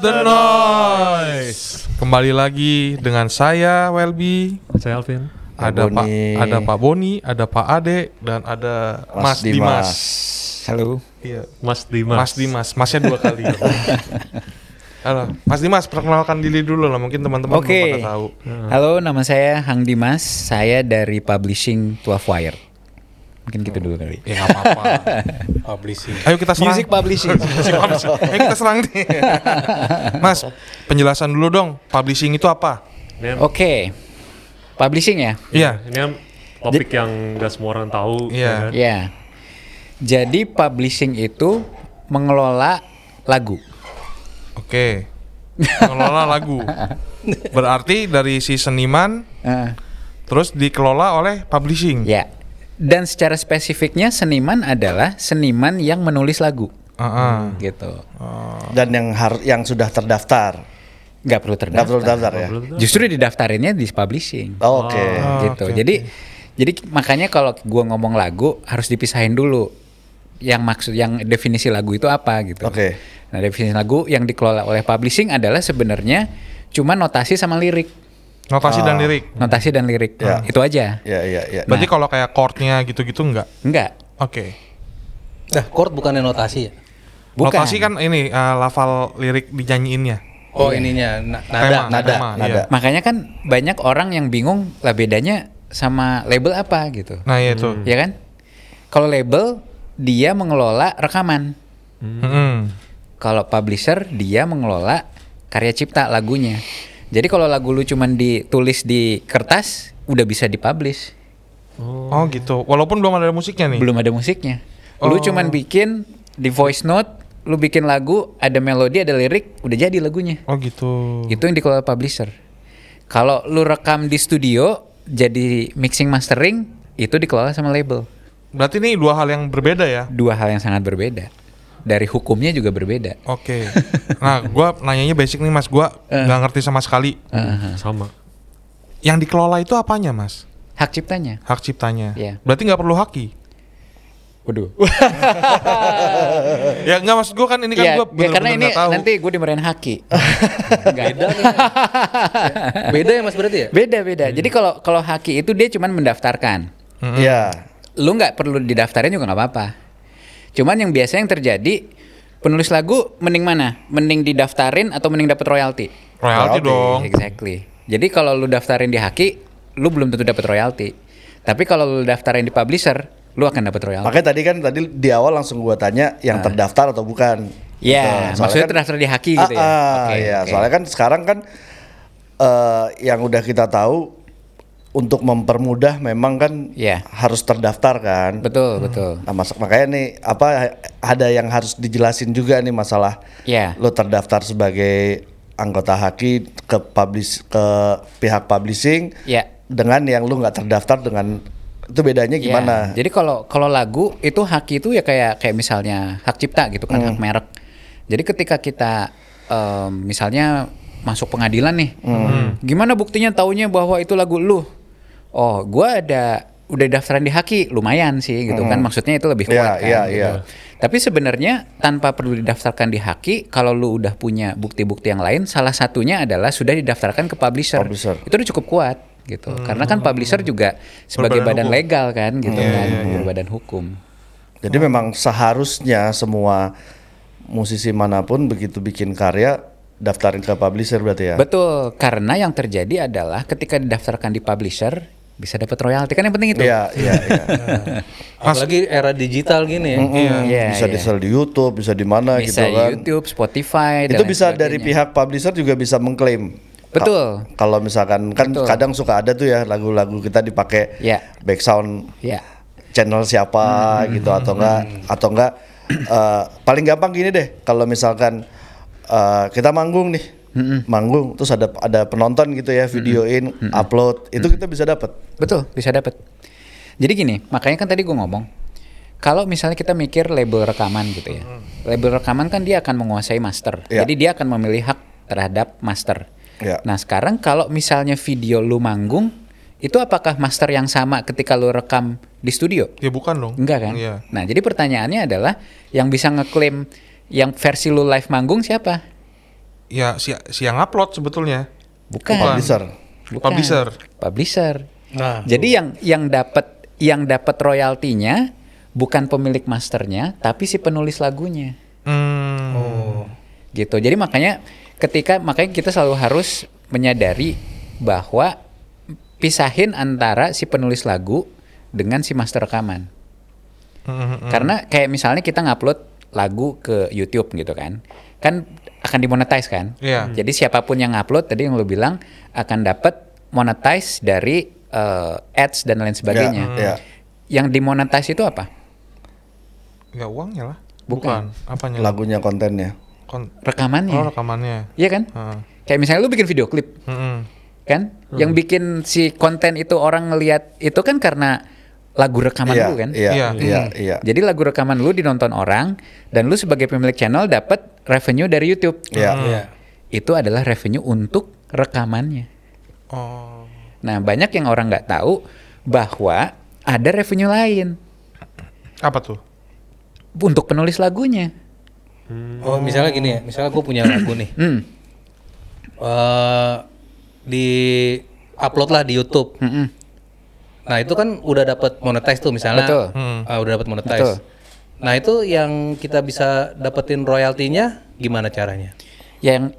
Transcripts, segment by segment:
the noise. Kembali lagi dengan saya Welby, Saya Alvin. ada Pak Boni. ada Pak Boni, ada Pak Ade dan ada Mas, Dimas. Halo. Iya, Mas Dimas. Mas Dimas, Masnya dua kali. Halo, Mas Dimas perkenalkan diri dulu lah mungkin teman-teman belum Oke. pada tahu. Halo, nama saya Hang Dimas. Saya dari publishing Twelve Wire. Mungkin gitu dulu kali. Ya nggak apa-apa. publishing. Ayo kita serang. Music publishing. Music publishing. Ayo kita serang nih. Mas, penjelasan dulu dong, publishing itu apa? Ini, Oke. Publishing ya? Iya. ini kan topik yang gak semua orang tahu. Iya. ya kan? Ya. Jadi publishing itu mengelola lagu. Oke. Mengelola lagu. Berarti dari si seniman Eh, terus dikelola oleh publishing. ya. Dan secara spesifiknya seniman adalah seniman yang menulis lagu. Heeh. Gitu. dan yang har yang sudah terdaftar. Nggak perlu Nggak perlu terdaftar. daftar ya. Justru didaftarinnya di publishing. Oh, Oke. Oh, gitu. oke, jadi jadi makanya kalau gua ngomong lagu harus dipisahin dulu. Yang maksud yang definisi lagu itu apa gitu. Oke. Nah, definisi lagu yang dikelola oleh publishing adalah sebenarnya cuma notasi sama lirik. Notasi Oh. dan lirik. Notasi dan lirik. Ya. Itu aja. Ya ya Nah. ya. Berarti kalau kayak chordnya gitu-gitu enggak? Enggak. Oke. Nah, chord bukannya notasi ya? Bukan. Notasi kan ini eh, lafal lirik dinyanyiinnya. Oh, ininya na- Tema, nada, nada. tema, nada. iya. Makanya kan banyak orang yang bingung lah bedanya sama label apa gitu. Nah, iya itu. Ya kan? Kalau label dia mengelola rekaman. Mm-mm. Kalau publisher dia mengelola karya cipta lagunya. Jadi kalau lagu lu cuman ditulis di kertas udah bisa dipublish. Oh gitu. Walaupun belum ada musiknya nih. Belum ada musiknya. Oh. Lu cuman bikin di voice note, lu bikin lagu, ada melodi, ada lirik, udah jadi lagunya. Oh gitu. Itu yang dikelola publisher. Kalau lu rekam di studio jadi mixing mastering itu dikelola sama label. Berarti ini dua hal yang berbeda ya. Dua hal yang sangat berbeda. Dari hukumnya juga berbeda. Oke. Nah, gua nanyanya basic nih Mas. Gua Eh. nggak ngerti sama sekali. Sama. Yang dikelola itu apanya, Mas? Hak ciptanya. Hak ciptanya. Iya. Berarti nggak perlu haki. Waduh. ya nggak maksud gue kan ini kan Iya, gue Eh. ya, bener-bener karena ini nggak tahu. nanti gue dimerahin haki. Nggak. Beda ya Mas berarti ya? beda beda. Jadi kalau kalau haki itu dia cuman mendaftarkan. Ya. Lu nggak perlu didaftarin juga nggak apa-apa. Cuman yang biasa yang terjadi penulis lagu mending mana? Mending didaftarin atau mending dapat royalti? ya gitu. royalti Royalti. dong. Exactly. Jadi kalau lu daftarin di haki, lu belum tentu dapat royalti. Tapi kalau lu daftarin di publisher, lu akan dapat royalti. Makanya tadi kan tadi di awal langsung gua tanya yang terdaftar atau bukan. Ah. Iya, Gitu. Soalnya maksudnya terdaftar di Haki gitu ya? Ah, ah, Oke, iya. oke. soalnya kan sekarang kan eh, yang udah kita tahu untuk mempermudah memang kan Iya. harus terdaftar kan. Betul, betul. Nah, mas- makanya nih apa ada yang harus dijelasin juga nih masalah Iya. lo terdaftar sebagai anggota Haki ke publish ke pihak publishing Iya. dengan yang lu nggak terdaftar dengan itu bedanya Iya, gimana? Jadi kalau kalau lagu itu hak itu ya kayak kayak misalnya hak cipta gitu kan Hmm. hak merek. Jadi ketika kita em, misalnya masuk pengadilan nih, Hmm. gimana buktinya taunya bahwa itu lagu lu? Oh, gua ada udah daftaran di Haki, lumayan sih gitu kan maksudnya itu lebih kuat kan. Iya, iya, gitu. iya. Tapi sebenarnya tanpa perlu didaftarkan di Haki, kalau lu udah punya bukti-bukti yang lain, salah satunya adalah sudah didaftarkan ke publisher. Publisher. Itu udah cukup kuat gitu. Karena kan publisher juga sebagai Hmm. Berbadan badan hukum. legal kan gitu Iya, kan berbadan hukum Jadi memang seharusnya semua musisi manapun begitu bikin karya daftarin ke publisher berarti ya. betul karena yang terjadi adalah ketika didaftarkan di publisher bisa dapat royalti kan yang penting itu Iya, iya, iya. Apalagi era digital gini ya. Mm, Iya, bisa iya. di-sell di YouTube, bisa di mana gitu bisa di kan. YouTube Spotify dan itu lain bisa dari sebagainya. pihak publisher juga bisa mengklaim. Betul. Ka- Kalau misalkan kan Betul. kadang suka ada tuh ya lagu-lagu kita dipakai Ya. Hmm. background ya channel siapa gitu atau enggak atau enggak eh, paling gampang gini deh kalau misalkan eh, kita manggung nih. Hmm. Manggung terus ada ada penonton gitu ya videoin, upload, Hmm. itu kita bisa dapat. betul bisa dapat jadi gini makanya kan tadi gue ngomong kalau misalnya kita mikir label rekaman gitu ya label rekaman kan dia akan menguasai master Iya. Ya. jadi dia akan memilih hak terhadap master Iya. nah sekarang kalau misalnya video lu manggung itu apakah master yang sama ketika lu rekam di studio Ya bukan dong. Enggak kan? Iya. Nah, jadi pertanyaannya adalah yang bisa ngeklaim yang versi lu live manggung siapa? ya si, si yang upload sebetulnya. Bukan. Publisher. Bukan. Publisher. Publisher. Nah. Jadi yang yang dapat yang dapat royaltinya bukan pemilik masternya, tapi si penulis lagunya. Hmm. gitu. Jadi makanya ketika makanya kita selalu harus menyadari bahwa pisahin antara si penulis lagu dengan si master rekaman. Hmm. Karena kayak misalnya kita ngupload lagu ke YouTube gitu kan, kan akan dimonetize kan. Hmm. Iya. Jadi siapapun yang ngupload tadi yang lu bilang akan dapat monetize dari eh, ads dan lain sebagainya. Iya, iya. Yang dimonetize itu apa? Ya uangnya lah. Bukan. Bukan. Apanya? Lagunya kontennya. Kon- Rekamannya. oh, rekamannya. Iya kan? Heeh. Kayak misalnya lu bikin video klip, Hmm. kan? Yang bikin si konten itu orang ngelihat itu kan karena lagu rekaman Iya, lu kan? Iya, Iya. iya, iya. Jadi lagu rekaman lu dinonton orang dan lu sebagai pemilik channel dapat revenue dari YouTube. Iya. Iya. Itu adalah revenue untuk rekamannya. Oh. Nah, banyak yang orang nggak tahu bahwa ada revenue lain Apa tuh? untuk penulis lagunya. Oh, misalnya gini ya, misalnya gue punya lagu nih. Hmm. eh di upload lah di YouTube. Mm-mm. Nah itu kan udah dapat monetize tuh misalnya. Betul. Hmm. Ah, udah dapat monetize. Betul. Nah itu yang kita bisa dapetin royaltinya gimana caranya? Yang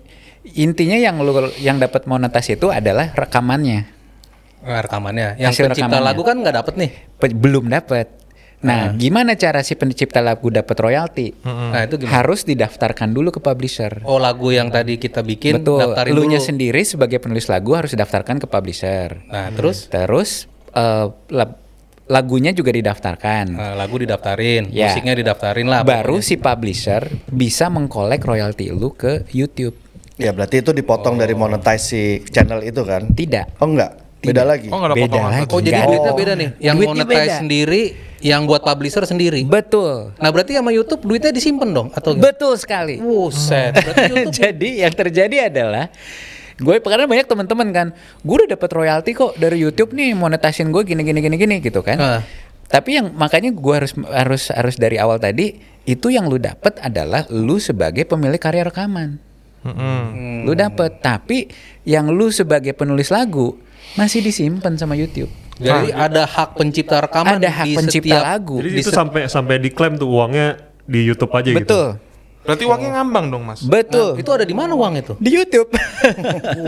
intinya yang lu yang dapat monetasi itu adalah rekamannya. Nah, rekamannya. Yang Hasil pencipta rekamannya. lagu kan nggak dapet nih. Pe- belum dapat. Nah, Ah. gimana cara si pencipta lagu dapat royalti? Nah itu gimana? Harus didaftarkan dulu ke publisher. Oh lagu yang tadi kita bikin Betul. daftarin Elunya dulu. sendiri sebagai penulis lagu harus didaftarkan ke publisher. Nah terus Terus eh, lab- lagunya juga didaftarkan. eh, lagu didaftarin, Hmm. Ya. musiknya didaftarin lah. Baru si publisher bisa mengkolek royalti lu ke YouTube. Ya berarti itu dipotong dari monetize si channel itu kan? Tidak. Oh enggak. Beda lagi. Oh, nggak ada Beda potongan. lagi. Oh jadi Nggak ada. duitnya beda nih. Yang Duitnya monetize beda. sendiri, yang buat publisher sendiri. Betul. Nah berarti sama YouTube duitnya disimpan dong atau gimana? Betul sekali. Buset. Berarti YouTube ya? Jadi yang terjadi adalah gue karena banyak teman-teman kan, gue udah dapat royalti kok dari YouTube nih monetasin gue gini gini gini gini gitu kan. Ah. Tapi yang makanya gue harus harus harus dari awal tadi itu yang lu dapat adalah lu sebagai pemilik karya rekaman. Hmm. Lu dapat, tapi yang lu sebagai penulis lagu masih disimpan sama YouTube. Jadi ada hak pencipta rekaman Ada hak di pencipta setiap Nah, lagu. Jadi di itu set- sampai sampai diklaim tuh uangnya di YouTube aja gitu. Betul. Berarti uangnya ngambang dong, Mas. Betul. Itu ada di mana uang itu? Nah, Di YouTube.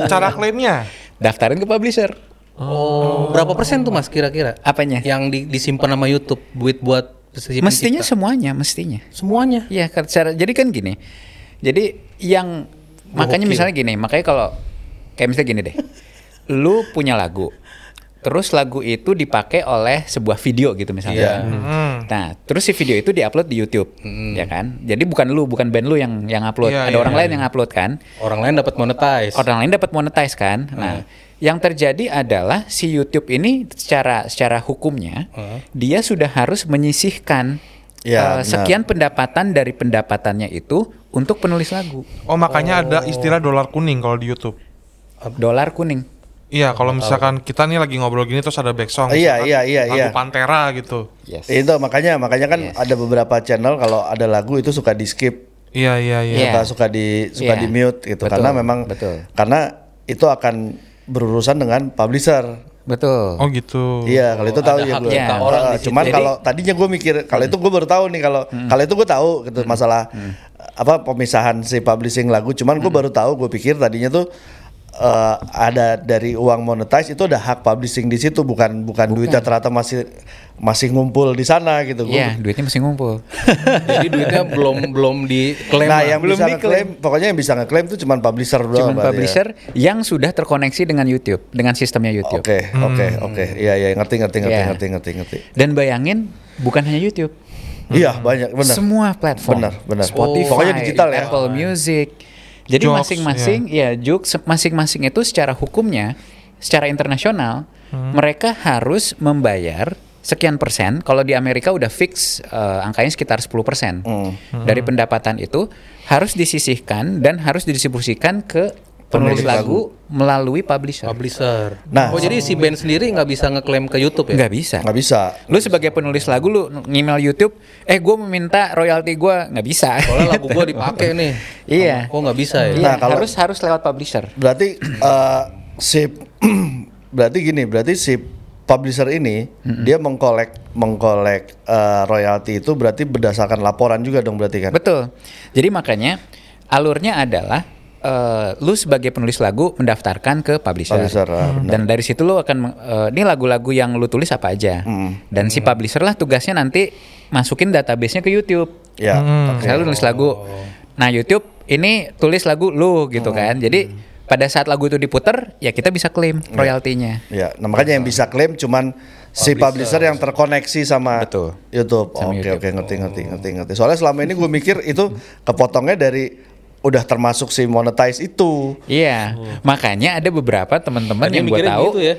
Cara klaimnya. Daftarin ke publisher. Oh. Berapa persen tuh Mas kira-kira? Apanya? Yang di, disimpan sama YouTube duit buat si Mestinya pencipta? semuanya, mestinya. semuanya. Iya, kan cara jadi kan gini. Jadi yang makanya misalnya gini, makanya kalau kayak misalnya gini deh. lu punya lagu. Terus lagu itu dipakai oleh sebuah video gitu misalnya. Hmm. Nah, terus si video itu diupload di YouTube, ya kan? Jadi bukan lu, bukan band lu yang yang upload. Iya, Ada iya, orang lain yang upload kan? Orang lain dapat monetize. Orang lain dapat monetize kan? Ah. Nah, yang terjadi adalah si YouTube ini secara secara hukumnya Hmm. dia sudah harus menyisihkan Ah. Ya, eh, benar. sekian pendapatan dari pendapatannya itu untuk penulis lagu. Oh, makanya ada istilah dolar kuning kalau di YouTube. Dolar kuning. Iya, kalau misalkan kita nih lagi ngobrol gini terus ada back song. Iya, misalkan iya, iya, lagu iya. Pantera gitu. Yes. Itu makanya makanya kan ada beberapa channel kalau ada lagu itu suka di skip, Iya, iya, iya. Iya. suka suka di suka Iya. di mute gitu Betul, karena memang betul. karena itu akan berurusan dengan publisher. Betul. Oh, gitu. Iya, kalau itu tahu ada ya hak gue. cipta Eh, orang di situ. cuman Jadi- kalau tadinya gue mikir kalau itu gue baru tahu nih kalau kalau itu gue tahu gitu masalah apa pemisahan si publishing lagu. Cuman gue baru tahu gue pikir tadinya tuh eh, ada dari uang monetize itu ada hak publishing di situ bukan bukan, duitnya ternyata masih masih ngumpul di sana gitu. Gua Iya, duitnya masih ngumpul. Jadi duitnya belum belum diklaim. nah, yang lah. Belum bisa diklaim. ngeklaim, pokoknya yang bisa ngeklaim tuh cuman publisher doang. Cuman berarti ya. publisher yang sudah terkoneksi dengan YouTube, dengan sistemnya YouTube. Oke, oke, oke. Iya, iya, ngerti, ngerti, ngerti, Iya. ngerti, ngerti, ngerti. Dan bayangin bukan hanya YouTube. Iya, banyak benar. Semua platform. Benar, benar. Spotify, Pokoknya digital ya. Apple Music. Jadi Joox, masing-masing ya, Joox, masing-masing itu secara hukumnya, secara internasional mereka harus membayar sekian persen. Kalau di Amerika udah fix eh, angkanya sekitar 10% Hmm. persen dari pendapatan itu harus disisihkan dan harus didistribusikan ke penulis Penulis lagu. lagu, melalui publisher. publisher. Nah. oh jadi si band sendiri nggak bisa ngeklaim ke YouTube ya? Nggak bisa. nggak bisa Lu sebagai penulis lagu lu ngemail YouTube, eh gue meminta royalti gue nggak bisa. Soalnya lagu gua dipakai nih. Iya. Oh nggak bisa ya? Iya, Nah, kalau- harus harus lewat publisher. berarti eh, si berarti gini berarti si publisher ini dia mengkolek mengkolek eh, royalti itu berarti berdasarkan laporan juga dong berarti kan Betul. Jadi makanya alurnya adalah eh, lu sebagai penulis lagu mendaftarkan ke publisher. Hmm. Publisher, ah, benar. Dan dari situ lu akan meng- eh, ini lagu-lagu yang lu tulis apa aja. Hmm. Dan si publisher lah tugasnya nanti masukin database-nya ke YouTube. ya Misalnya lu nulis lagu. Nah, YouTube ini tulis lagu lu gitu Hmm. kan. Jadi pada saat lagu itu diputer, ya kita bisa klaim Iya. royaltinya. ya nah, makanya yang bisa klaim cuman si publisher yang terkoneksi sama Betul. YouTube Sama oke YouTube. Oh. oke ngerti ngerti ngerti ngerti soalnya selama ini gue mikir itu kepotongnya dari udah termasuk si monetize itu Iya, makanya ada beberapa teman-teman Oh. Tadi yang gue mikirnya tahu gitu ya.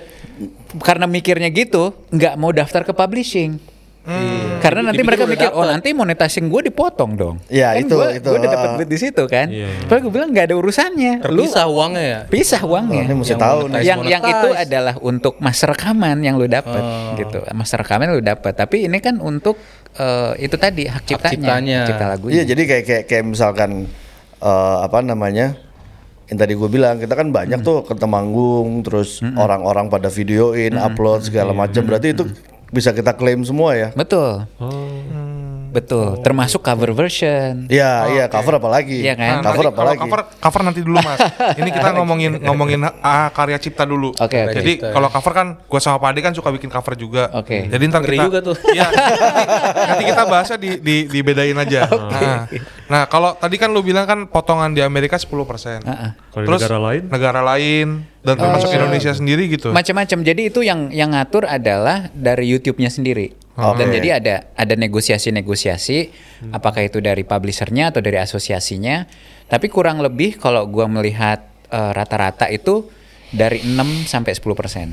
karena mikirnya gitu nggak mau daftar ke publishing. Hmm. Karena nanti Dipikir mereka udah mikir oh dapet. nanti monetizing gue dipotong dong. Kan Iya, itu- gua, itu, Gue udah dapat ah. duit di situ kan. Iya, iya. Padahal gue bilang nggak ada urusannya. Lu Terpisah uangnya ya? pisah uangnya. Oh, ini mesti Yang tahu nih monetize. yang yang itu monetize. adalah untuk mas rekaman yang lu dapat Oh. gitu. Mas rekaman lu dapat, tapi ini kan untuk eh, itu tadi hak ciptanya, ciptanya. cipta lagunya. Iya jadi kayak kayak kayak misalkan eh, apa namanya yang tadi gue bilang kita kan banyak tuh ke Temanggung terus orang-orang pada videoin upload segala macam berarti itu bisa kita klaim semua ya. Betul. Oh. Betul, termasuk cover version. Iya iya cover apalagi Iya kan? Nah, lagi? cover Nanti kalau apalagi cover cover nanti dulu mas ini kita ngomongin ngomongin ah, karya cipta dulu Oke, oke. jadi kalau cover kan gue sama Pade kan suka bikin cover juga Oke. jadi ntar Ngeri kita juga tuh. Iya, nanti, nanti kita bahasnya di, di dibedain aja nah, nah kalau tadi kan lu bilang kan potongan di Amerika 10% Iya. Heeh. Oh. Kalau di negara lain? negara lain dan termasuk Indonesia sendiri gitu Macam-macam. Jadi itu yang yang ngatur adalah dari YouTube-nya sendiri. Oke. Dan jadi ada ada negosiasi-negosiasi apakah itu dari publishernya atau dari asosiasinya. Tapi kurang lebih kalau gua melihat eh, rata-rata itu dari 6 sampai 10 persen.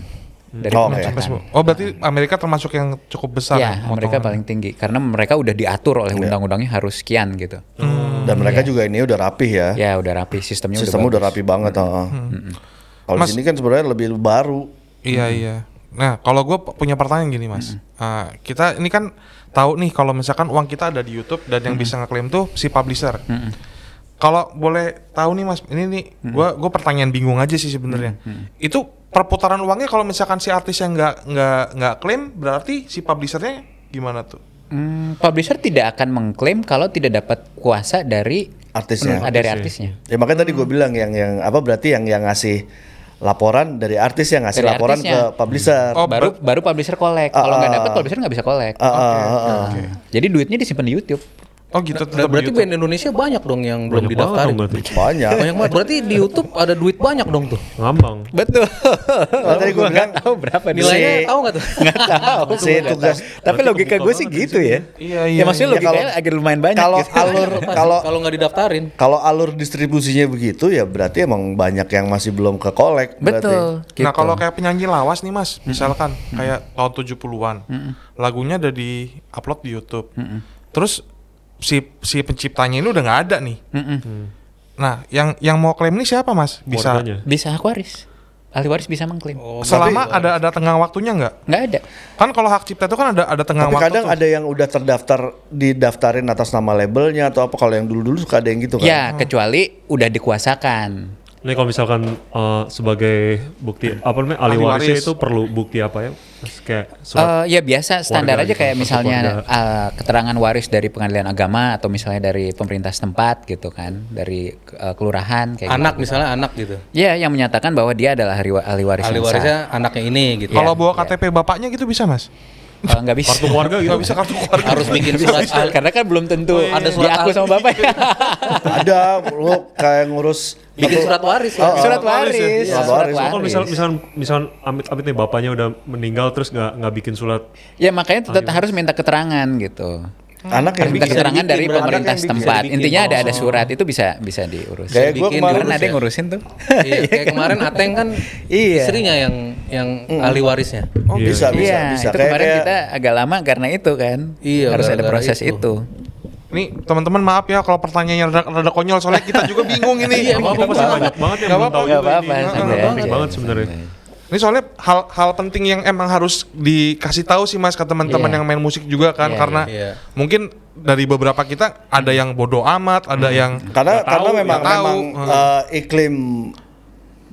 Dari Oke. pendapatan. Sampai semua. oh berarti Amerika termasuk yang cukup besar Ya, potongan. mereka paling tinggi karena mereka udah diatur oleh undang-undangnya harus sekian gitu. dan mereka juga ini udah rapih ya. Ya udah rapi sistemnya Sistemnya udah udah. bagus. rapi banget. heeh. Kalau di Mas- sini kan sebenarnya lebih baru. Iya Hmm. iya. Nah kalau gue punya pertanyaan gini mas, Ah, kita ini kan tahu nih kalau misalkan uang kita ada di YouTube dan Hmm. yang bisa ngeklaim tuh si publisher. Kalau boleh tahu nih mas, ini nih Hmm. gue gue pertanyaan bingung aja sih sebenarnya. Itu perputaran uangnya kalau misalkan si artis yang nggak nggak nggak klaim berarti si publishernya gimana tuh? Hmm, publisher tidak akan mengklaim kalau tidak dapat kuasa dari Artisnya. pen- dari artisnya. Ya makanya tadi gue bilang yang yang apa berarti yang yang ngasih laporan dari artis yang ngasih Dari laporan artisnya. ke publisher. Oh, baru ber- baru publisher collect. Kalau nggak dapat publisher nggak bisa collect. Nah, Ah, ah, ah, ah. Jadi duitnya disimpan di YouTube. Oh gitu. Nah, tetap di berarti YouTube. band Indonesia banyak dong yang belum Banyak banget didaftarin. dong berarti. Banyak. Banyak banget. Berarti di YouTube ada duit banyak dong tuh. Ngambang. Betul. Makanya tadi gue bilang tahu berapa Nilainya Si- tahu nggak tuh? Iya. Nggak tahu. Si Gua nggak tugas- tahu. Tapi logika gue sih gitu ya. Iya, iya, Ya maksudnya iya. logikanya Kalau- agak lumayan banyak. kalau gitu. alur Kalau kalau kalau nggak didaftarin. kalau alur distribusinya begitu ya berarti emang banyak yang masih belum ke kolek berarti. betul. Nah gitu. kalau kayak penyanyi lawas nih mas, misalkan kayak tahun 70-an, lagunya udah di upload di YouTube, terus si si penciptanya ini udah nggak ada nih. Mm. Nah yang yang mau klaim ini siapa mas? Bisa Warnanya. bisa hak waris. Ahli waris bisa mengklaim. Oh. Oh, selama ada eh, ada tenggang waktunya nggak? Nggak ada. Kan kalau hak cipta itu kan ada ada tenggang Tapi waktu. kadang tuh. ada yang udah terdaftar didaftarin atas nama labelnya atau apa kalau yang dulu-dulu suka ada yang gitu kan. Ya, kecuali udah dikuasakan. Ini kalau misalkan eh, sebagai bukti apa namanya ahli Ahli warisnya waris. itu perlu bukti apa ya? Terus kayak surat Eh ya biasa standar warga aja gitu, kayak kartu misalnya eh, keterangan waris dari pengadilan agama atau misalnya dari pemerintah setempat gitu kan, dari eh, kelurahan kayak Anak gitu. misalnya anak gitu. Ya, yang menyatakan bahwa dia adalah hari- ahli waris Ahli yang sah. warisnya anaknya ini gitu. Kalau Iya, bawa iya. KTP bapaknya gitu bisa mas? Eh, nggak bisa. kartu keluarga gitu. Nggak bisa kartu keluarga. harus bikin surat ahli. Karena kan belum tentu ada Ada surat surat aku ahli. sama bapak ya. Ada lu kayak ngurus Bikin satu- surat waris Oh, oh. ya. surat waris. ya? Surat waris. Kalau misal misalkan misalkan Amit Amit nih bapaknya udah meninggal terus nggak nggak bikin surat Ya makanya tetap harus minta keterangan gitu. anak Harus yang minta bikin. keterangan dari berarti pemerintah yang bikin, setempat. bikin. Intinya ada ada surat itu bisa bisa diurus. Kayak Bikin gue kemarin Kan ada diurus. yang ngurusin tuh. Iya, kayak kemarin Ateng kan Iya. Mm. istrinya yang yang ahli warisnya. oh, bisa bisa Iya, bisa itu kayak kemarin kayak- kita agak lama karena itu kan. Iya, harus ada gara-gara proses itu. itu. Ini teman-teman maaf ya kalau pertanyaannya rada, rada konyol soalnya kita juga bingung ini. Gak apa-apa, pasti banyak banget yang Gak belum apa-apa. tahu Gak juga Iya, apa-apa, ini. santai Banyak aja. banget sebenarnya. Ini soalnya hal hal penting yang emang harus dikasih tahu sih Mas ke teman-teman Iya. yang main musik juga kan Iya, karena iya, iya. mungkin dari beberapa kita ada yang bodoh amat, ada yang karena Nggak karena tahu, memang nggak tahu. memang eh, iklim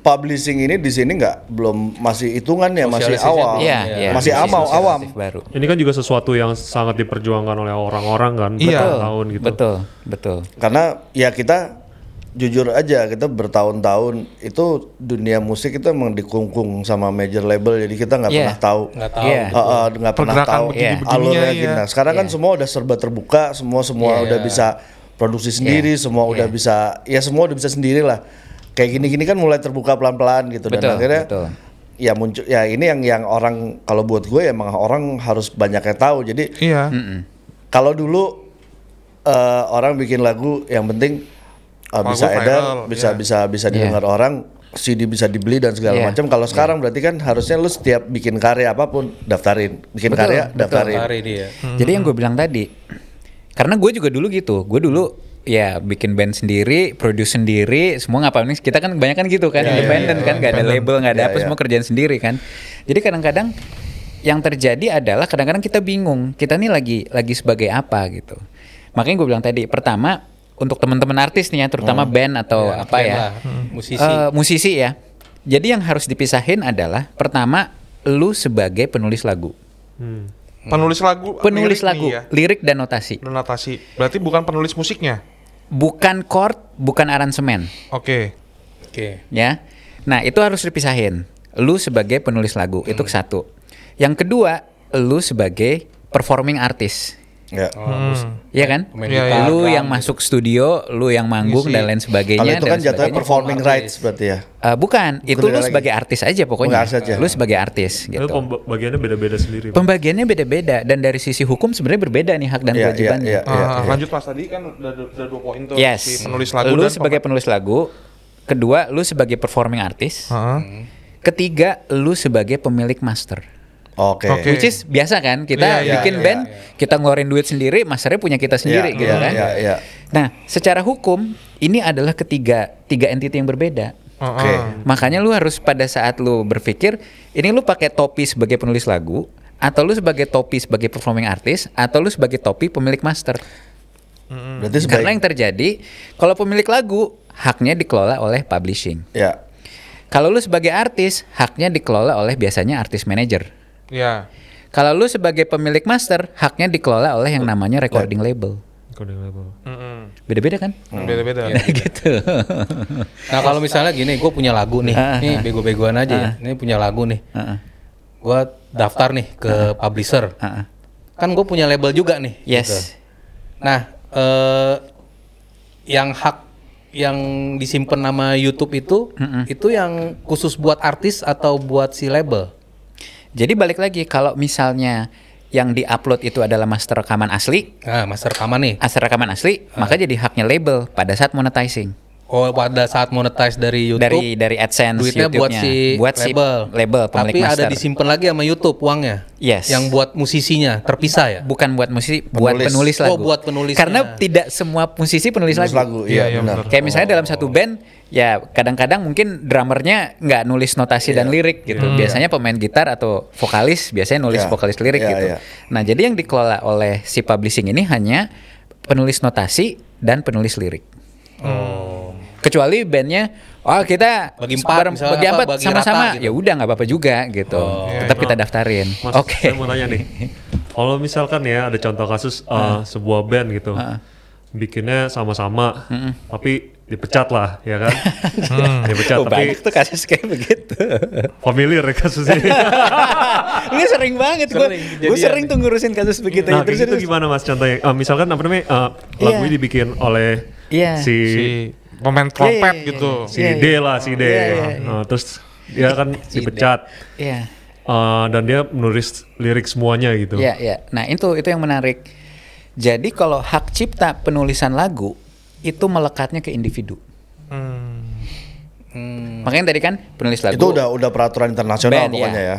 publishing ini di sini nggak belum masih hitungannya masih Sosialisasinya awal belum, Iya, iya. Oh, masih Bisnis awal awam inisiatif Baru. Ini kan juga sesuatu yang sangat diperjuangkan oleh orang-orang kan Iya. bertahun-tahun gitu. Betul, betul. karena ya kita jujur aja kita bertahun-tahun itu dunia musik itu emang dikungkung sama major label jadi kita nggak Iya. pernah tahu Nggak tahu. Iya. Eh, eh, nggak pernah Pergerakan tahu begini-begininya, alurnya iya. gimana sekarang kan semua udah serba terbuka semua semua udah bisa produksi Iya. sendiri semua udah bisa ya semua udah bisa sendiri lah kayak gini-gini kan mulai terbuka pelan-pelan gitu Betul, dan akhirnya betul. ya muncul ya ini yang yang orang kalau buat gue emang orang harus banyak yang tahu jadi iya. kalau dulu eh, orang bikin lagu yang penting eh, Lagu bisa edar, viral, bisa iya. bisa bisa didengar orang, CD bisa dibeli dan segala Iya. macam. Kalau sekarang berarti kan harusnya lu setiap bikin karya apapun daftarin, bikin Betul, karya betul. daftarin. Hmm. Hari dia. Jadi yang gue bilang tadi, karena gue juga dulu gitu, gue dulu ya bikin band sendiri, produce sendiri, semua ngapain nih? Kita kan kebanyakan gitu kan, Iya, independen kan, nggak ada label, nggak ada Iya, apa, iya. semua kerjaan sendiri kan. Jadi kadang-kadang yang terjadi adalah kadang-kadang kita bingung, kita nih lagi lagi sebagai apa gitu. Makanya gue bilang tadi, pertama untuk teman-teman artis nih ya, terutama Hmm. band atau Iya, apa keren ya, lah. Hmm. Musisi. Eh, musisi ya. Jadi yang harus dipisahin adalah pertama lu sebagai penulis lagu, Hmm. Penulis lagu lirik penulis lagu, nih ya. lirik dan notasi. Donatasi. Berarti bukan penulis musiknya. bukan chord, bukan aransemen, Oke. Oke. ya. Nah, itu harus dipisahin. Lu sebagai penulis lagu, itu Hmm. satu. Yang kedua, lu sebagai performing artist. Ya. Oh. Iya kan? Pemain Iya, gitar, Iya lu drum yang gitu. masuk studio, lu yang manggung Ngisi. dan lain sebagainya. Kalau itu dan kan jatuhnya sebagainya. performing rights berarti ya. Eh, bukan, itu beda lu lagi. sebagai artis aja pokoknya. Bukan artis aja. Lu sebagai artis gitu. Itu pembagiannya beda-beda sendiri. Pak. Pembagiannya beda-beda dan dari sisi hukum sebenarnya berbeda nih hak dan Iya, kewajibannya. iya, iya. Ah, lanjut Mas tadi kan udah, udah dua poin tuh Yes. si penulis lagu kan. Lu dan sebagai pem- penulis lagu, kedua lu sebagai performing artist. Heeh. Hmm. Ketiga, lu sebagai pemilik master. Oke. Oke. Which is biasa kan? Kita Iya, iya, bikin iya, band, kita ngeluarin duit sendiri, masternya punya kita sendiri Iya, gitu iya, kan. iya, iya. Nah, secara hukum ini adalah ketiga tiga entiti yang berbeda. Heeh. Oke. Makanya lu harus pada saat lu berpikir, ini lu pakai topi sebagai penulis lagu atau lu sebagai topi sebagai performing artist atau lu sebagai topi pemilik master. Berarti sebaik Karena yang terjadi kalau pemilik lagu haknya dikelola oleh publishing. ya. Kalau lu sebagai artis, haknya dikelola oleh biasanya artis manager. Ya. Kalau lu sebagai pemilik master, haknya dikelola oleh yang namanya recording label. Recording label. Mm-mm. Beda-beda kan? Beda-beda. Nah, gitu. Nah kalau misalnya gini, gue punya lagu nih, Ah, nih bego-begoan aja ya. Ini punya lagu nih, Heeh. gue daftar nih Nah. ke publisher. Heeh. Kan gue punya label juga nih. gitu. Yes. Nah, eh, yang hak yang disimpan nama YouTube itu, itu yang khusus buat artis atau buat si label? Jadi balik lagi kalau misalnya yang diupload itu adalah master rekaman asli, Nah, master rekaman nih. master rekaman asli, maka jadi haknya label pada saat monetizing. Oh, pada saat monetize dari YouTube, Dari dari AdSense duitnya buat YouTube-nya. si buat si label. label pemilik Tapi master. ada disimpan lagi sama YouTube uangnya. Yes. Yang buat musisinya terpisah ya. Bukan buat musisi, buat Penulis. penulis lagu. Oh, buat penulisnya. Karena tidak semua musisi penulis, Penulis Iya, lagu, iya iya, benar. benar. Oh. Kayak misalnya dalam satu band, ya kadang-kadang mungkin drummernya nggak nulis notasi dan lirik gitu. Hmm. Biasanya pemain gitar atau vokalis biasanya nulis Iya. vokalis lirik Iya, gitu. iya. Nah, jadi yang dikelola oleh si publishing ini hanya penulis notasi dan penulis lirik. Kecuali bandnya, oh kita Oh. Bagi empat, bareng- misalnya bagi apa, empat bagi sama-sama, rata gitu. Oh. ya udah nggak apa-apa juga gitu. Tetap kita daftarin. Mas, Oke. saya mau tanya nih. Kalau misalkan ya ada contoh kasus uh, sebuah band gitu. Bikinnya sama-sama, tapi dipecat lah, ya kan? Hmm, Dipecat, Oh, tapi banyak tuh kasus kayak begitu. familiar ya Gitu, kasusnya. Ini sering banget gue. Gue sering tuh ngurusin kasus begitu. ya. nah, Terus- kayak gitu gimana mas contohnya? Eh, misalkan apa namanya, eh, lagu Iya. ini dibikin oleh Iya. si, Si pemain trompet Iya, iya, iya, gitu. si Iya, D iya. lah, si D. Iya, iya, iya. Nah, terus dia kan dipecat. Iya. Eh, dan dia menulis lirik semuanya gitu. Iya, iya. Nah, itu itu yang menarik. Jadi kalau hak cipta penulisan lagu itu melekatnya ke individu. Hmm. Hmm. Makanya tadi kan penulis lagu Itu udah udah peraturan internasional Band, pokoknya iya. ya.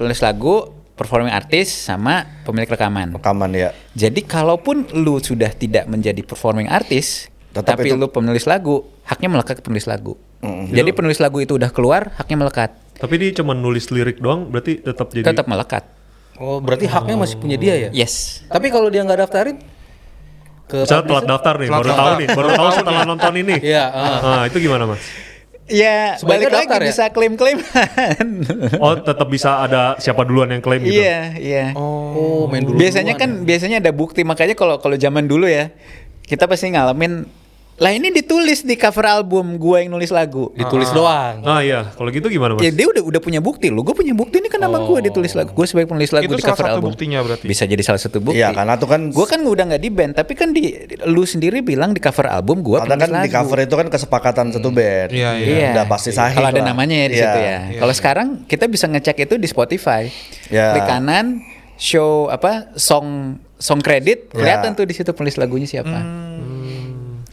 penulis lagu performing artist sama pemilik rekaman. rekaman ya Jadi kalaupun lu sudah tidak menjadi performing artist, Tetap tapi itu- lu penulis lagu, haknya melekat ke penulis lagu. Jadi penulis lagu itu udah keluar, haknya melekat, Tapi dia cuma nulis lirik doang, berarti tetap jadi tetap melekat. Oh, berarti haknya masih punya dia ya? Yes. Tapi kalau dia nggak daftarin ke Misalnya telat publisher- daftar nih, Telat baru daftar. tahu nih, baru tahu setelah nonton ini. Iya, ah. Ah, itu gimana mas? Ya, balik Sebaiknya lagi daftar ya? bisa klaim-klaim. Oh, tetap bisa ada siapa duluan yang klaim gitu? Iya, iya. Oh, main dulu. biasanya kan biasanya ada bukti makanya kalau kalau zaman dulu ya kita pasti ngalamin lah ini ditulis di cover album gua yang nulis lagu ditulis doang. Ah iya, kalau gitu gimana mas? ya dia udah udah punya bukti lo gue punya bukti ini kan nama gua ditulis lagu gue sebagai penulis lagu Itu di salah cover satu album buktinya berarti. bisa jadi salah satu bukti Iya, karena tuh kan- gue kan udah nggak di band tapi kan di lu sendiri bilang di cover album gua karena penulis kan di cover itu kan kesepakatan satu Hmm. band Iya, iya. udah pasti sahih Kalau ada lah. namanya ya di Iya. situ ya. Kalau sekarang kita bisa ngecek itu di Spotify. Iya. Klik kanan show apa song song Iya. credit kelihatan tuh di situ penulis lagunya siapa.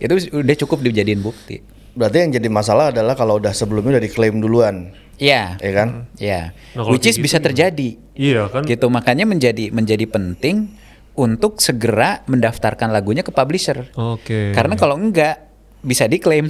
Itu udah cukup dijadiin bukti. berarti yang jadi masalah adalah kalau udah sebelumnya udah diklaim duluan Iya. ya kan Iya. Nah, kalau Which is kayak gitu bisa gimana? terjadi. Iya kan? Gitu makanya menjadi menjadi penting untuk segera mendaftarkan lagunya ke publisher. Oke. Karena kalau enggak bisa diklaim.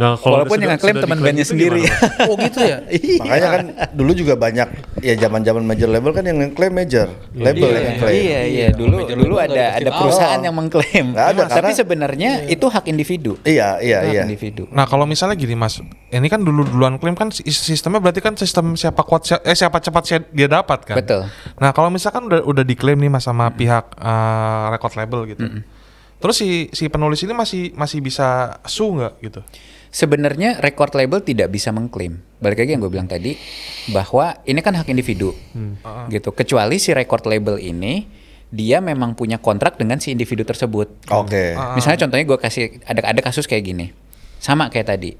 Nah, kalau Walaupun sudah- yang ngeklaim sudah teman diklaim bandnya itu sendiri. gimana, Oh, gitu ya? Iya. makanya kan dulu juga banyak ya zaman zaman major label kan yang klaim major label yang klaim Iya iya dulu Major dulu ada label nggak dikasih ada tahu. perusahaan yang mengklaim. Nggak ada, Tapi karena- sebenarnya itu hak individu. iya iya Hak iya individu. Nah kalau misalnya gini mas, ini kan dulu duluan klaim kan sis- sistemnya berarti kan sistem siapa kuat sia- eh siapa cepat sia- dia dapat kan. Betul. Nah kalau misalkan udah udah diklaim nih mas sama pihak eh, record label gitu, terus si si penulis ini masih masih bisa sue nggak gitu? Sebenarnya record label tidak bisa mengklaim. Balik lagi yang gue bilang tadi bahwa ini kan hak individu. Gitu. Kecuali si record label ini dia memang punya kontrak dengan si individu tersebut. oke Misalnya contohnya gue kasih ada ada kasus kayak gini. Sama kayak tadi.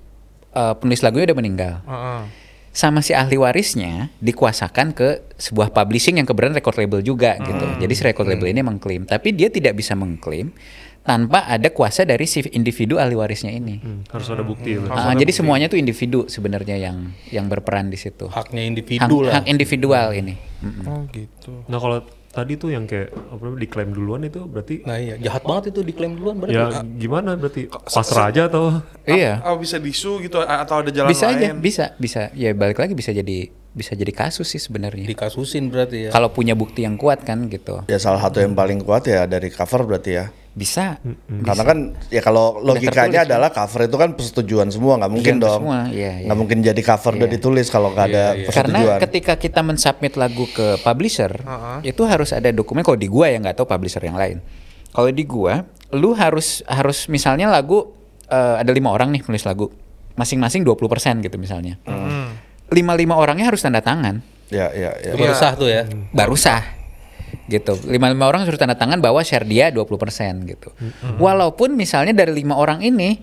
Eh, penulis lagunya udah meninggal. Heeh. sama si ahli warisnya dikuasakan ke sebuah publishing yang kebetulan record label juga gitu. Jadi si record label ini mengklaim, tapi dia tidak bisa mengklaim tanpa ada kuasa dari si individu ahli warisnya ini. Hmm, harus ada bukti. ya. Ah, jadi semuanya tuh individu sebenarnya yang yang berperan di situ. Hak, Haknya individu lah. hak individual ini. Mm-mm. Oh gitu. Nah kalau tadi tuh yang kayak apa namanya diklaim duluan itu berarti Nah, iya, jahat banget itu diklaim duluan berarti. ya gimana berarti pasrah aja atau Iya. Oh bisa disu gitu a- atau ada jalan Bisa aja, lain? Eh, bisa, bisa. Ya balik lagi bisa jadi bisa jadi kasus sih sebenarnya. Dikasusin berarti ya. Kalau punya bukti yang kuat kan gitu. ya salah satu yang paling kuat ya dari cover berarti ya Bisa. Karena kan ya kalau Hmm. tertulis, logikanya kan? adalah cover itu kan persetujuan semua nggak mungkin Persetujuan dong. semua, iya, iya. Nggak mungkin jadi cover udah ditulis kalau nggak ada persetujuan. Karena ketika kita mensubmit lagu ke publisher, itu harus ada dokumen. Kalau di gua ya nggak tahu publisher yang lain. Kalau di gua, lu harus harus misalnya lagu eh, ada lima orang nih penulis lagu, masing-masing 20% gitu misalnya. Lima-lima orangnya harus tanda tangan, Ya ya Iya. ya. Baru sah tuh ya. Hmm. baru sah gitu. Lima-lima orang harus tanda tangan bahwa share dia 20% gitu. Walaupun misalnya dari lima orang ini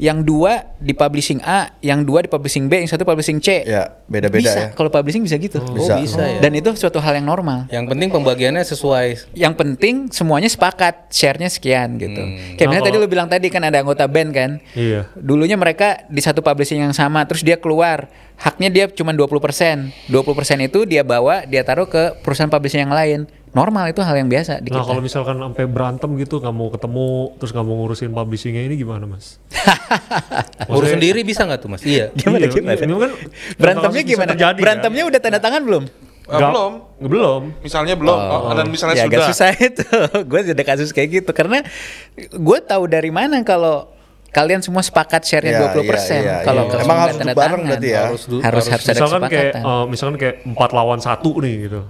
yang dua di publishing A, yang dua di publishing B, yang satu publishing C. Ya, beda-beda Bisa, ya. Kalau publishing bisa gitu. Oh, Bisa. bisa ya. Dan itu suatu hal yang normal. Yang penting pembagiannya sesuai. Yang penting semuanya sepakat, share-nya sekian gitu. Kayak Nah, misalnya tadi kalau- lu bilang tadi kan ada anggota band kan. Iya. Dulunya mereka di satu publishing yang sama, terus dia keluar. Haknya dia cuma 20%. 20% itu dia bawa, dia taruh ke perusahaan publishing yang lain. Normal itu hal yang biasa di Nah kita. kalau misalkan sampai berantem gitu nggak mau ketemu terus nggak mau ngurusin publishingnya ini gimana mas? Urus sendiri bisa nggak tuh, Mas? Iya. Gimana, Iya, gimana? iya, ini kan Berantemnya bisa gimana? terjadi, ya. Nah. Berantemnya udah tanda tangan belum? Eh, belum. Belum. Misalnya belum. Oh, dan misalnya ya sudah. agak susah itu. gue ada kasus kayak gitu karena gue tahu dari mana kalau kalian semua sepakat Iya, share-nya 20%. iya, iya, kalau iya. kalau Emang semua harus tanda bareng tangan. berarti ya? Harus Harus harus, du- harus, harus- ada misalkan kayak kesepakatan. eh, misalkan kayak empat lawan satu nih gitu.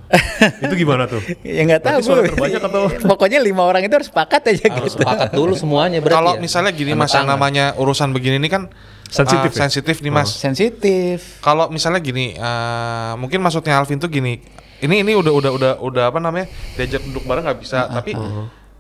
itu gimana tuh? ya nggak tahu. berarti suara gua. terbanyak atau- Pokoknya lima orang itu harus sepakat aja Harus gitu. sepakat dulu semuanya berarti. Kalau ya? misalnya gini Tanda mas, yang tangan. namanya urusan begini ini kan eh, Sensitif ya? sensitif nih mas. Sensitif. Kalau misalnya gini, eh, mungkin maksudnya Alvin tuh gini. Ini ini udah udah udah udah apa namanya diajak duduk bareng nggak bisa, tapi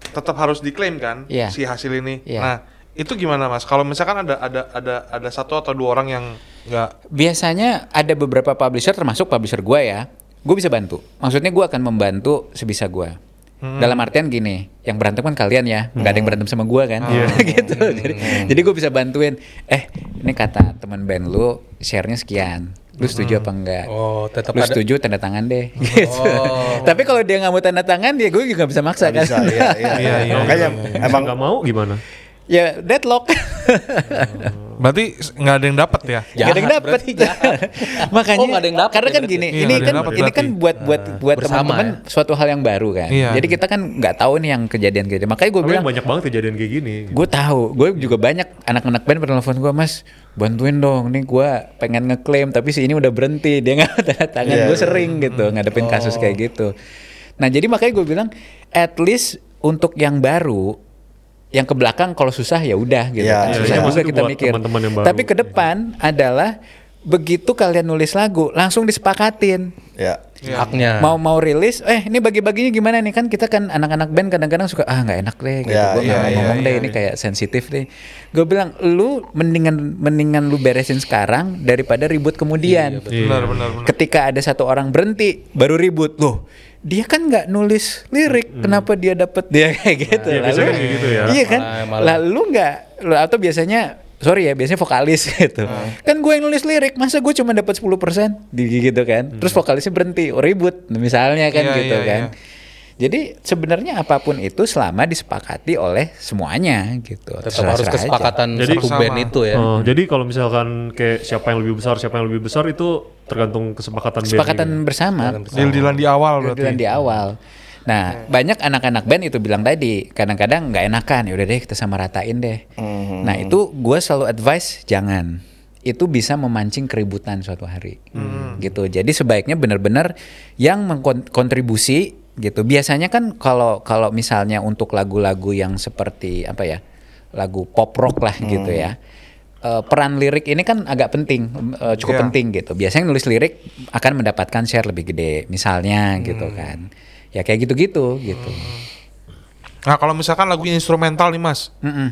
tetap harus diklaim kan Iya. si hasil ini. Iya. Nah itu gimana mas? Kalau misalkan ada ada ada ada satu atau dua orang yang nggak Biasanya ada beberapa publisher termasuk publisher gue ya. Gue bisa bantu. Maksudnya gue akan membantu sebisa gue. Hmm. Dalam artian gini, yang berantem kan kalian ya, nggak ada yang berantem sama gue kan, Iya. gitu. Hmm. Jadi, jadi gue bisa bantuin. Eh, ini kata teman band lu, share-nya sekian. Hmm. Lu setuju apa enggak? Oh, tetap Lu ada. setuju tanda tangan deh. Oh. Gitu. Tapi kalau dia nggak mau tanda tangan, ya gue juga nggak bisa maksa kan. bisa ya, iya, iya, Iya, iya, makanya emang emang nggak mau gimana? ya deadlock. Berarti s- nggak ada yang dapat ya? Gak ada yang Jahat, dapat. berarti jahat. Makanya Oh, nggak ada yang dapet karena ya kan berarti. gini, Iya, ini nggak ada kan yang dapet ini kan berarti. buat buat buat eh, Bersama ya. teman-teman suatu hal yang baru kan. Iya. Jadi kita kan nggak tahu nih yang kejadian-kejadian. Makanya gue Tapi bilang banyak banget kejadian kayak gini. Gue tahu, gue Iya. juga banyak anak-anak band pernah nelfon gue, Mas, bantuin dong, nih gue pengen ngeklaim, tapi si ini udah berhenti, dia nggak tanda tangan, Iya, gue iya. sering gitu Hmm. ngadepin kasus Oh. kayak gitu. Nah jadi makanya gue bilang, at least untuk yang baru, yang ke belakang kalau susah ya udah gitu. kan. Iya, iya, susah iya. juga Maksudnya kita buat mikir. teman-teman yang baru. Tapi ke depan adalah begitu kalian nulis lagu, langsung disepakatin ya Iya. haknya. mau mau rilis eh ini bagi-baginya gimana nih kan kita kan anak-anak band kadang-kadang suka ah nggak enak deh gitu Ya, gue nggak iya, mau iya, ngomong deh iya, ini kayak sensitif deh gue bilang lu mendingan mendingan lu beresin sekarang daripada ribut kemudian Iya. Benar, benar, benar. ketika ada satu orang berhenti baru ribut loh dia kan nggak nulis lirik kenapa dia dapet dia kayak gitu Iya, biasanya kayak gitu ya. iya kan Malah- malah. lalu nggak lu- atau biasanya sorry ya biasanya vokalis gitu kan gue yang nulis lirik masa gue cuma dapat 10% di gitu kan terus vokalisnya berhenti oh, ribut misalnya kan Iya, gitu iya, kan iya. jadi sebenarnya apapun itu selama disepakati oleh semuanya gitu tetap Terserah-serah harus aja. kesepakatan Jadi satu bersama. band itu ya. Oh, jadi kalau misalkan kayak siapa yang lebih besar, siapa yang lebih besar itu tergantung kesepakatan band kesepakatan juga. bersama Deal-dealan di awal berarti. Kebetulan Iya. di awal. Nah, banyak anak-anak band itu bilang tadi, kadang-kadang nggak enakan, ya udah deh kita sama ratain deh. Mhm. Nah, itu gue selalu advice jangan. Itu bisa memancing keributan suatu hari. Mhm. Gitu. Jadi sebaiknya benar-benar yang mengkontribusi gitu. Biasanya kan kalau kalau misalnya untuk lagu-lagu yang seperti apa ya? lagu pop rock lah gitu Mhm. ya. Eh, peran lirik ini kan agak penting, eh, cukup Iya. penting gitu. Biasanya nulis lirik akan mendapatkan share lebih gede, misalnya Hmm. gitu kan. Ya kayak gitu-gitu gitu. Nah kalau misalkan lagunya instrumental nih mas, Mm-mm.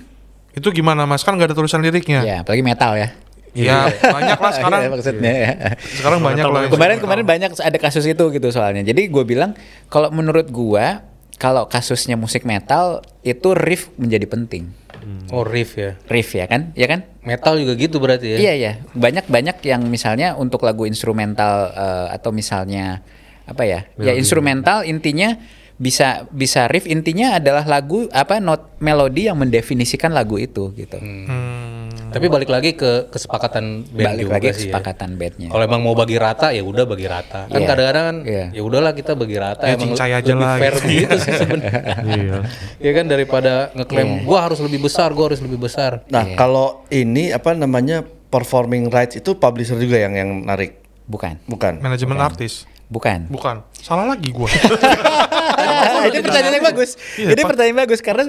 itu gimana mas? Kan nggak ada tulisan liriknya. Ya, apalagi metal ya. Ya banyak lah sekarang. Iya, maksudnya. ya. Sekarang banyak lah. instrumental. Kemarin kemarin banyak ada kasus itu gitu soalnya. Jadi gue bilang kalau menurut gua kalau kasusnya musik metal itu riff menjadi penting. Hmm. Oh, riff ya. Riff ya kan? Ya kan? Metal juga gitu berarti ya. Iya iya banyak banyak yang misalnya untuk lagu instrumental eh, atau misalnya apa ya ya instrumental intinya bisa bisa riff intinya adalah lagu apa not melodi yang mendefinisikan lagu itu gitu Hmm. Tapi balik lagi ke kesepakatan band balik juga lagi sih ya. kesepakatan bandnya Kalau emang mau bagi rata ya udah bagi rata. Kan Iya. kadang-kadang kan Iya. ya udahlah kita bagi rata Ya, emang cincai aja lebih lah, fair gitu. gitu sih sebenarnya. Iya. ya kan daripada ngeklaim Iya. gua harus lebih besar, gua harus lebih besar. nah kalau ini apa namanya performing rights itu publisher juga yang yang narik bukan bukan Nah, Manajemen artis. bukan Bukan. Salah lagi gua. ini pertanyaan yang bagus Iya, ini Pak. pertanyaan bagus karena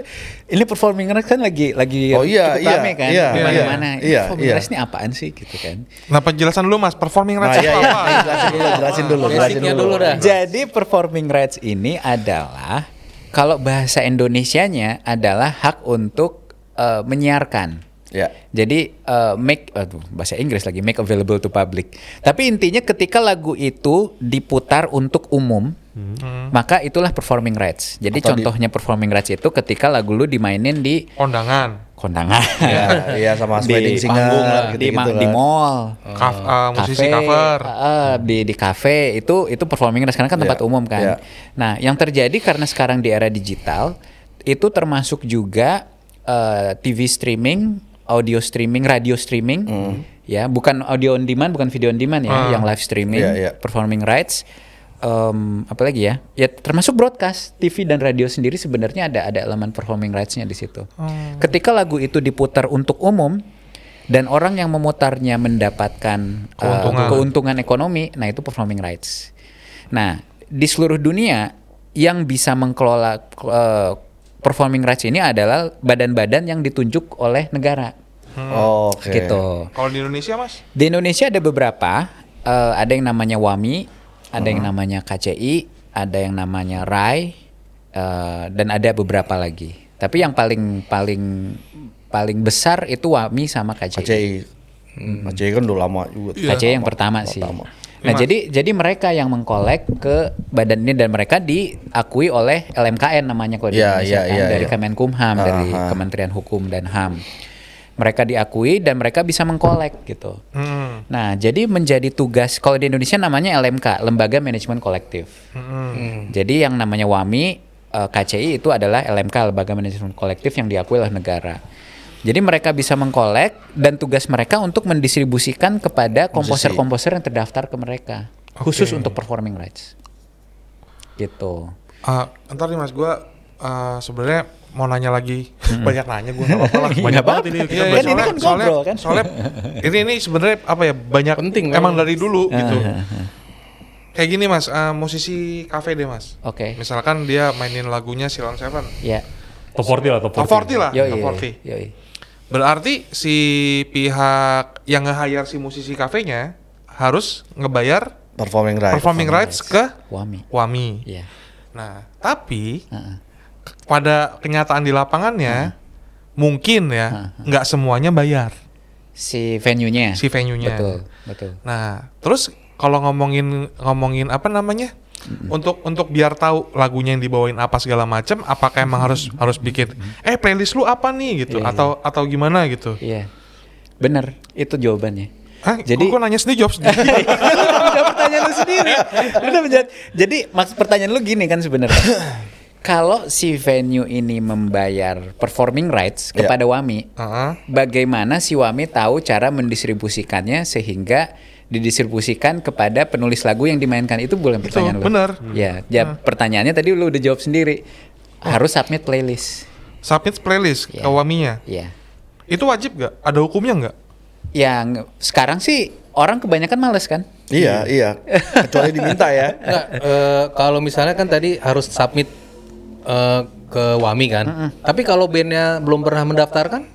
ini performing rights kan lagi lagi Oh, iya, cukup iya, rame kan iya, di iya, mana-mana Ini iya, performing iya. rights ini apaan sih gitu kan nah penjelasan dulu mas, performing nah rights iya itu iya apa? jelasin dulu jelasin dulu jelasin Basicnya dulu dah. Jadi performing rights ini adalah kalau bahasa Indonesianya adalah hak untuk eh, menyiarkan. ya Jadi eh, make aduh, bahasa Inggris lagi make available to public. Tapi intinya ketika lagu itu diputar untuk umum, maka itulah performing rights. Jadi Hmm. Atau di- contohnya performing rights itu ketika lagu lu dimainin di Kondangan, kondangan, ya iya sama Di wedding singer panggung lah, gitu di, ma- gitu di mall, kaf- ah, eh, musisi Cafe, cover. eh, di di kafe itu itu performing rights karena kan tempat Iya, umum kan. iya. Nah, yang terjadi karena sekarang di era digital itu termasuk juga eh, TV streaming, audio streaming, radio streaming. Hmm. Ya, bukan audio on demand, bukan video on demand ya, yang live streaming, Iya, iya. performing rights Em, apalagi ya? Ya termasuk broadcast, TV dan radio sendiri sebenarnya ada ada elemen performing rights-nya di situ. Ketika lagu itu diputar untuk umum dan orang yang memutarnya mendapatkan eh, Keuntungan. keuntungan ekonomi, nah itu performing rights. Nah, di seluruh dunia yang bisa mengkelola eh, performing rights ini adalah badan-badan yang ditunjuk oleh negara. Oh, oke Gitu. Kalau di Indonesia mas? Di Indonesia ada beberapa, eh, ada yang namanya WAMI, ada Hmm. yang namanya KCI, ada yang namanya RAI, eh, dan ada beberapa lagi. Tapi yang paling paling paling besar itu WAMI sama KCI. KCI, KCI Hmm. KCI kan udah lama juga Iya. yang pertama, sih. Pertama. Nah, jadi jadi mereka yang mengkolek ke badan ini dan mereka diakui oleh LMKN namanya kalau di Iya, Indonesia iya, kan, iya, dari iya. Kemenkumham, dari Aha. Kementerian Hukum dan HAM. mereka diakui dan mereka bisa mengkolek gitu. Hmm. Nah, jadi menjadi tugas kalau di Indonesia namanya LMK, Lembaga Manajemen Kolektif. Hmm. Jadi yang namanya WAMI eh, KCI itu adalah LMK, Lembaga Manajemen Kolektif yang diakui oleh negara. Jadi mereka bisa mengkolek dan tugas mereka untuk mendistribusikan kepada komposer-komposer yang terdaftar ke mereka, khusus untuk performing rights. Gitu. Ah, ntar nih mas gue sebenarnya mau nanya lagi banyak nanya gue nggak apa-apa lah. Banyak banget ini kita Iya, Kan iya, baca. ini soalnya- kan ngobrol, kan? soalnya ini ini sebenarnya apa ya banyak Penting, emang memang. dari dulu gitu kayak gini mas eh, musisi kafe deh mas Oke. misalkan dia mainin lagunya Silent Seven Ya. Top 40 lah, top 40. top 40 lah Yoi. top 40 Yoi. berarti si pihak yang nge-hire si musisi kafenya harus ngebayar performing right. performing rights ke WAMI. Wami Iya. nah tapi Heeh. pada kenyataan di lapangannya mungkin ya nggak semuanya bayar Si venue-nya. si venue-nya Betul, betul. Nah, terus kalau ngomongin ngomongin apa namanya? Untuk untuk biar tahu lagunya yang dibawain apa segala macam, apakah emang harus harus bikin eh playlist lu apa nih gitu Iya, atau atau gimana gitu. Iya. Bener, itu jawabannya. Hah, Jadi- jadi kok nanya sendiri jawab sendiri. udah pertanyaan lu sendiri. Lu udah menjawab. Jadi maksud pertanyaan lu gini kan sebenarnya. Kalau si venue ini membayar performing rights Iya. kepada Wami, Heeh. bagaimana si Wami tahu cara mendistribusikannya sehingga didistribusikan kepada penulis lagu yang dimainkan itu bukan pertanyaan lu. bener. Ya, ya pertanyaannya tadi lu udah jawab sendiri. Harus submit playlist. Submit playlist ke Iya. Waminya. Ya. Itu wajib nggak? Ada hukumnya nggak? Yang sekarang sih orang kebanyakan males kan? Iya, iya. Kecuali diminta ya. Nggak, eh, kalau misalnya kan tadi harus submit eh, ke Wami kan. Tapi kalau bandnya belum pernah mendaftarkan,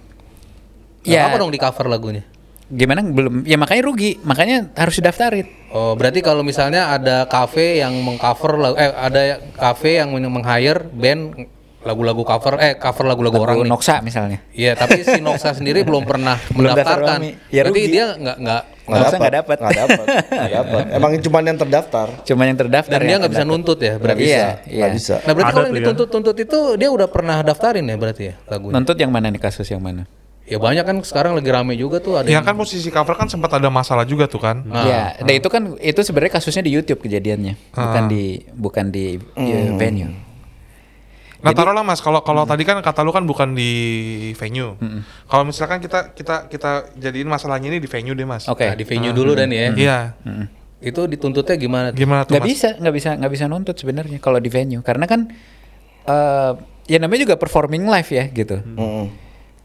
Ya. ya apa dong di cover lagunya? Gimana belum? Ya makanya rugi, makanya harus didaftarin. Oh, berarti kalau misalnya ada cafe yang mengcover lagu- eh ada cafe yang men- meng-hire band lagu-lagu cover eh cover lagu-lagu orang Lagu nih. Noxa misalnya. Iya, tapi si Noxa sendiri belum pernah Belum daftar mendaftarkan. Wami. Ya, berarti rugi. dia nggak nggak Nggak usah, nggak dapat. dapat. Nggak dapat. Nggak dapat. Emang cuma yang terdaftar. Cuma yang terdaftar dan dia yang nggak bisa terdaftar. nuntut ya berarti. Iya, iya. Nggak bisa. Nah, berarti Ada kalau tuh yang ya. dituntut-tuntut itu dia udah pernah daftarin ya berarti ya lagunya. Nuntut yang mana nih kasus yang mana? Ya banyak kan sekarang lagi rame juga tuh ada Yang kan posisi cover kan sempat ada masalah juga tuh kan. Ah. Iya, dan itu kan itu sebenarnya kasusnya di YouTube kejadiannya, Ah. bukan di bukan di eh, Hmm. venue. Nah taruhlah mas, kalau kalau tadi kan kata lu kan bukan di venue. Hmm. Kalau misalkan kita kita kita jadiin masalahnya ini di venue deh mas. Oke. Ah, Hmm. Nah, di venue dulu dan ya. Iya. Itu dituntutnya gimana? tuh? Gimana tuh Nggak mas? bisa, nggak bisa, nggak bisa nuntut sebenarnya kalau di venue, karena kan eh, ya namanya juga performing live ya gitu. Hmm. Mm-mm.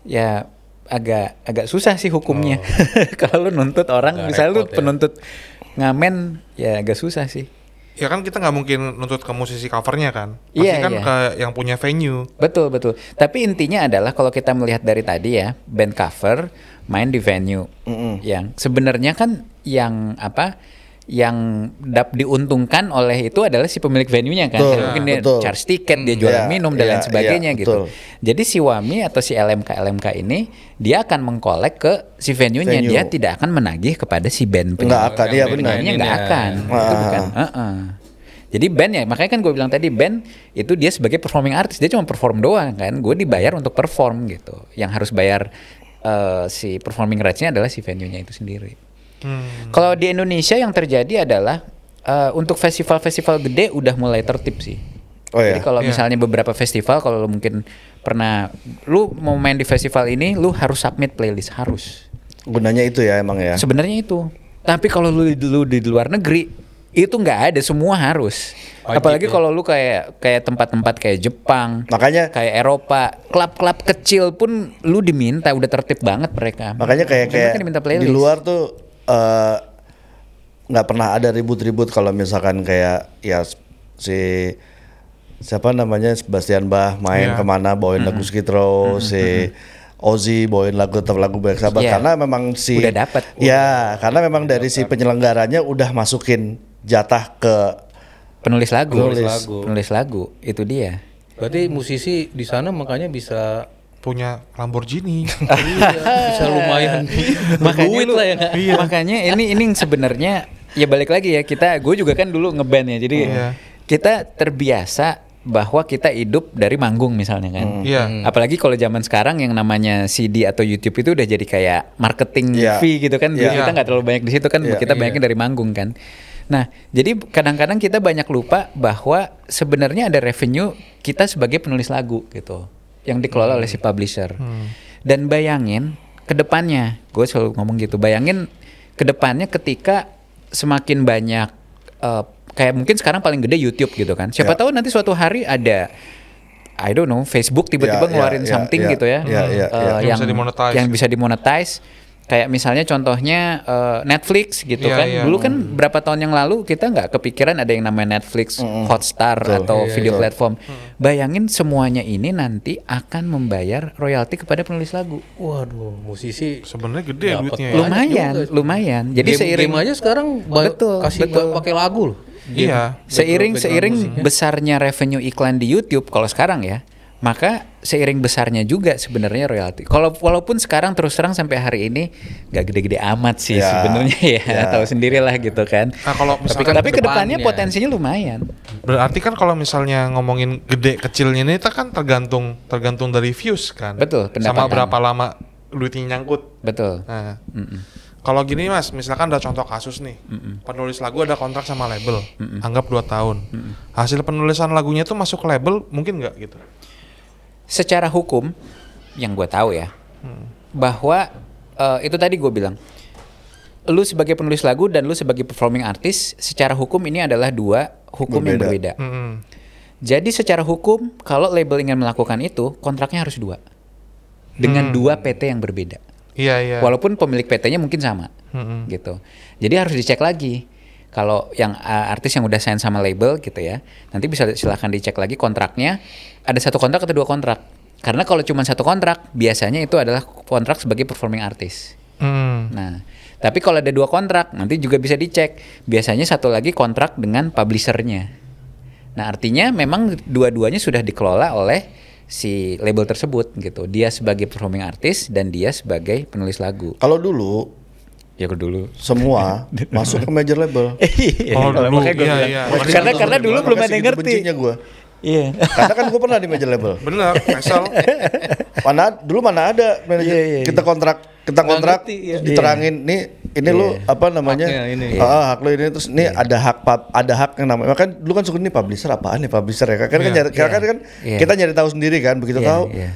Ya agak agak susah sih hukumnya. kalau lu nuntut orang, Agak misalnya lu Oh. repot ya. penuntut ngamen, ya agak susah sih. Ya kan kita nggak mungkin nuntut ke musisi covernya kan. Pasti Iya, kan iya. ke yang punya venue. Betul betul. Tapi intinya adalah kalau kita melihat dari tadi ya band cover main di venue yang sebenarnya kan yang apa yang dap diuntungkan oleh itu adalah si pemilik venue-nya kan. Betul, Jadi mungkin dia betul. charge tiket, dia jualan Iya, minum dan iya, lain sebagainya iya, gitu. betul. Jadi si Wami atau si LMK LMK ini dia akan mengkolek ke si venue-nya, Venue. dia tidak akan menagih kepada si band Nggak penyanyi. akan, iya Yang benar. Penyanyinya dimainin nggak ya. akan. Itu Ah. bukan. Heeh. Jadi band ya, makanya kan gue bilang tadi band itu dia sebagai performing artist dia cuma perform doang kan. Gue dibayar untuk perform gitu. Yang harus bayar eh, si performing rights-nya adalah si venue-nya itu sendiri. Hmm. Kalau di Indonesia yang terjadi adalah eh, untuk festival-festival gede udah mulai tertib sih. Oh Jadi iya. kalau Iya. misalnya beberapa festival kalau lu mungkin pernah lu mau main di festival ini lu harus submit playlist harus. Gunanya itu ya emang ya. Sebenarnya itu. Tapi kalau lu di- lu di luar negeri itu nggak ada semua harus. Oh, Wajib Apalagi ya. kalau lu kayak kayak tempat-tempat kayak Jepang, gitu Makanya- kayak Eropa, klub-klub kecil pun lu diminta udah tertib banget mereka. Makanya kayak Mereka kayak kan diminta di playlist. luar tuh eh, nggak pernah ada ribut-ribut kalau misalkan kayak ya s- si siapa namanya Sebastian Bach main Iya. kemana bawain lagu Skid Row, si Ozzy bawain lagu tetap lagu banyak sahabat Iya. karena memang si Udah dapet. ya karena memang dari si penyelenggaranya udah masukin jatah ke penulis lagu, Penulis lagu. penulis lagu itu dia. Berarti musisi di sana makanya bisa iya, Punya Lamborghini. bisa lumayan makanya duit lu- lah ya. Iya. kan? makanya ini ini yang sebenarnya ya balik lagi ya kita gue juga kan dulu ngeband ya jadi Iya. kita terbiasa bahwa kita hidup dari manggung misalnya kan. Iya. Apalagi kalau zaman sekarang yang namanya CD atau YouTube itu udah jadi kayak marketing Iya. fee gitu kan. Jadi Iya. kita nggak terlalu banyak di situ kan. Iya. Kita banyaknya dari manggung kan. Nah, jadi kadang-kadang kita banyak lupa bahwa sebenarnya ada revenue kita sebagai penulis lagu gitu yang dikelola oleh si publisher. Hmm. Dan bayangin ke depannya, gue selalu ngomong gitu. Bayangin ke depannya ketika semakin banyak eh, kayak mungkin sekarang paling gede YouTube gitu kan. Siapa Ya. tahu nanti suatu hari ada I don't know, Facebook tiba-tiba Ya, ya, ngeluarin ya, something ya, gitu ya, ya, ya, eh, ya. Yang yang bisa dimonetize yang gitu. bisa dimonetize. Kayak misalnya contohnya eh, Netflix gitu Iya, Ya, kan. ya. Dulu kan berapa tahun yang lalu kita nggak kepikiran ada yang namanya Netflix, Hotstar Iya, atau video platform. Bayangin semuanya ini nanti akan membayar royalti kepada penulis lagu. Waduh, musisi Sebenarnya gede Dapet duitnya ya. Banyak Lumayan, juga. lumayan. Jadi Iya. game, seiring game aja sekarang ba- Betul, kasih betul. ba- pakai lagu loh. Iya. seiring Background- seiring background musiknya. besarnya revenue iklan di YouTube kalau sekarang ya maka seiring besarnya juga sebenarnya royalti kalau walaupun sekarang terus terang sampai hari ini nggak gede-gede amat sih Ya, sebenarnya ya ya. tahu sendirilah gitu kan Nah, kalau tapi misalkan tapi ke kedepannya depannya. potensinya lumayan Berarti kan kalau misalnya ngomongin gede kecilnya ini kita kan tergantung tergantung dari views kan. Betul, Sama pendapatan. berapa lama duitnya nyangkut. betul Nah. Kalau gini Mas, misalkan ada contoh kasus nih. Penulis lagu ada kontrak sama label, anggap 2 tahun. Hasil penulisan lagunya tuh masuk ke label mungkin nggak gitu. secara hukum yang gue tahu ya bahwa eh, itu tadi gue bilang lu sebagai penulis lagu dan lu sebagai performing artist secara hukum ini adalah dua hukum yang berbeda Berbeda. Mm-mm. Jadi secara hukum kalau label ingin melakukan itu kontraknya harus dua dengan dua PT yang berbeda. Iya, iya. Walaupun pemilik PT-nya mungkin sama, Mm-mm. gitu. Jadi harus dicek lagi. Kalau yang uh, artis yang udah sign sama label gitu ya, nanti bisa silahkan dicek lagi kontraknya. Ada satu kontrak atau dua kontrak? Karena kalau cuma satu kontrak, biasanya itu adalah kontrak sebagai performing artist. Mm. Nah, tapi kalau ada dua kontrak, nanti juga bisa dicek. Biasanya satu lagi kontrak dengan publishernya. Nah, artinya memang dua-duanya sudah dikelola oleh si label tersebut gitu. Dia sebagai performing artist dan dia sebagai penulis lagu. Kalau dulu Ya aku dulu. Oh, semua masuk ke major label. gitu, Kalau dulu, makanya gua iya, bilang. iya. Eh, Karena karena dulu belum ada yang ngerti. Bencinya gua. Iya. Karena kan gue pernah di major label. Bener, Faisal. Mana dulu mana ada manajer Iya, iya, kita kontrak kita Nggak kontrak ngerti, iya. diterangin nih ini lu Iya. apa namanya? Haknya ini. Ah, ah, hak lu ini terus ini ada hak pub- ada hak yang namanya. Kan dulu kan suka ini publisher apaan nih publisher ya? Kan kan nyari- karena kan kan Iya. kita nyari tahu sendiri kan begitu Iya, tahu. iya.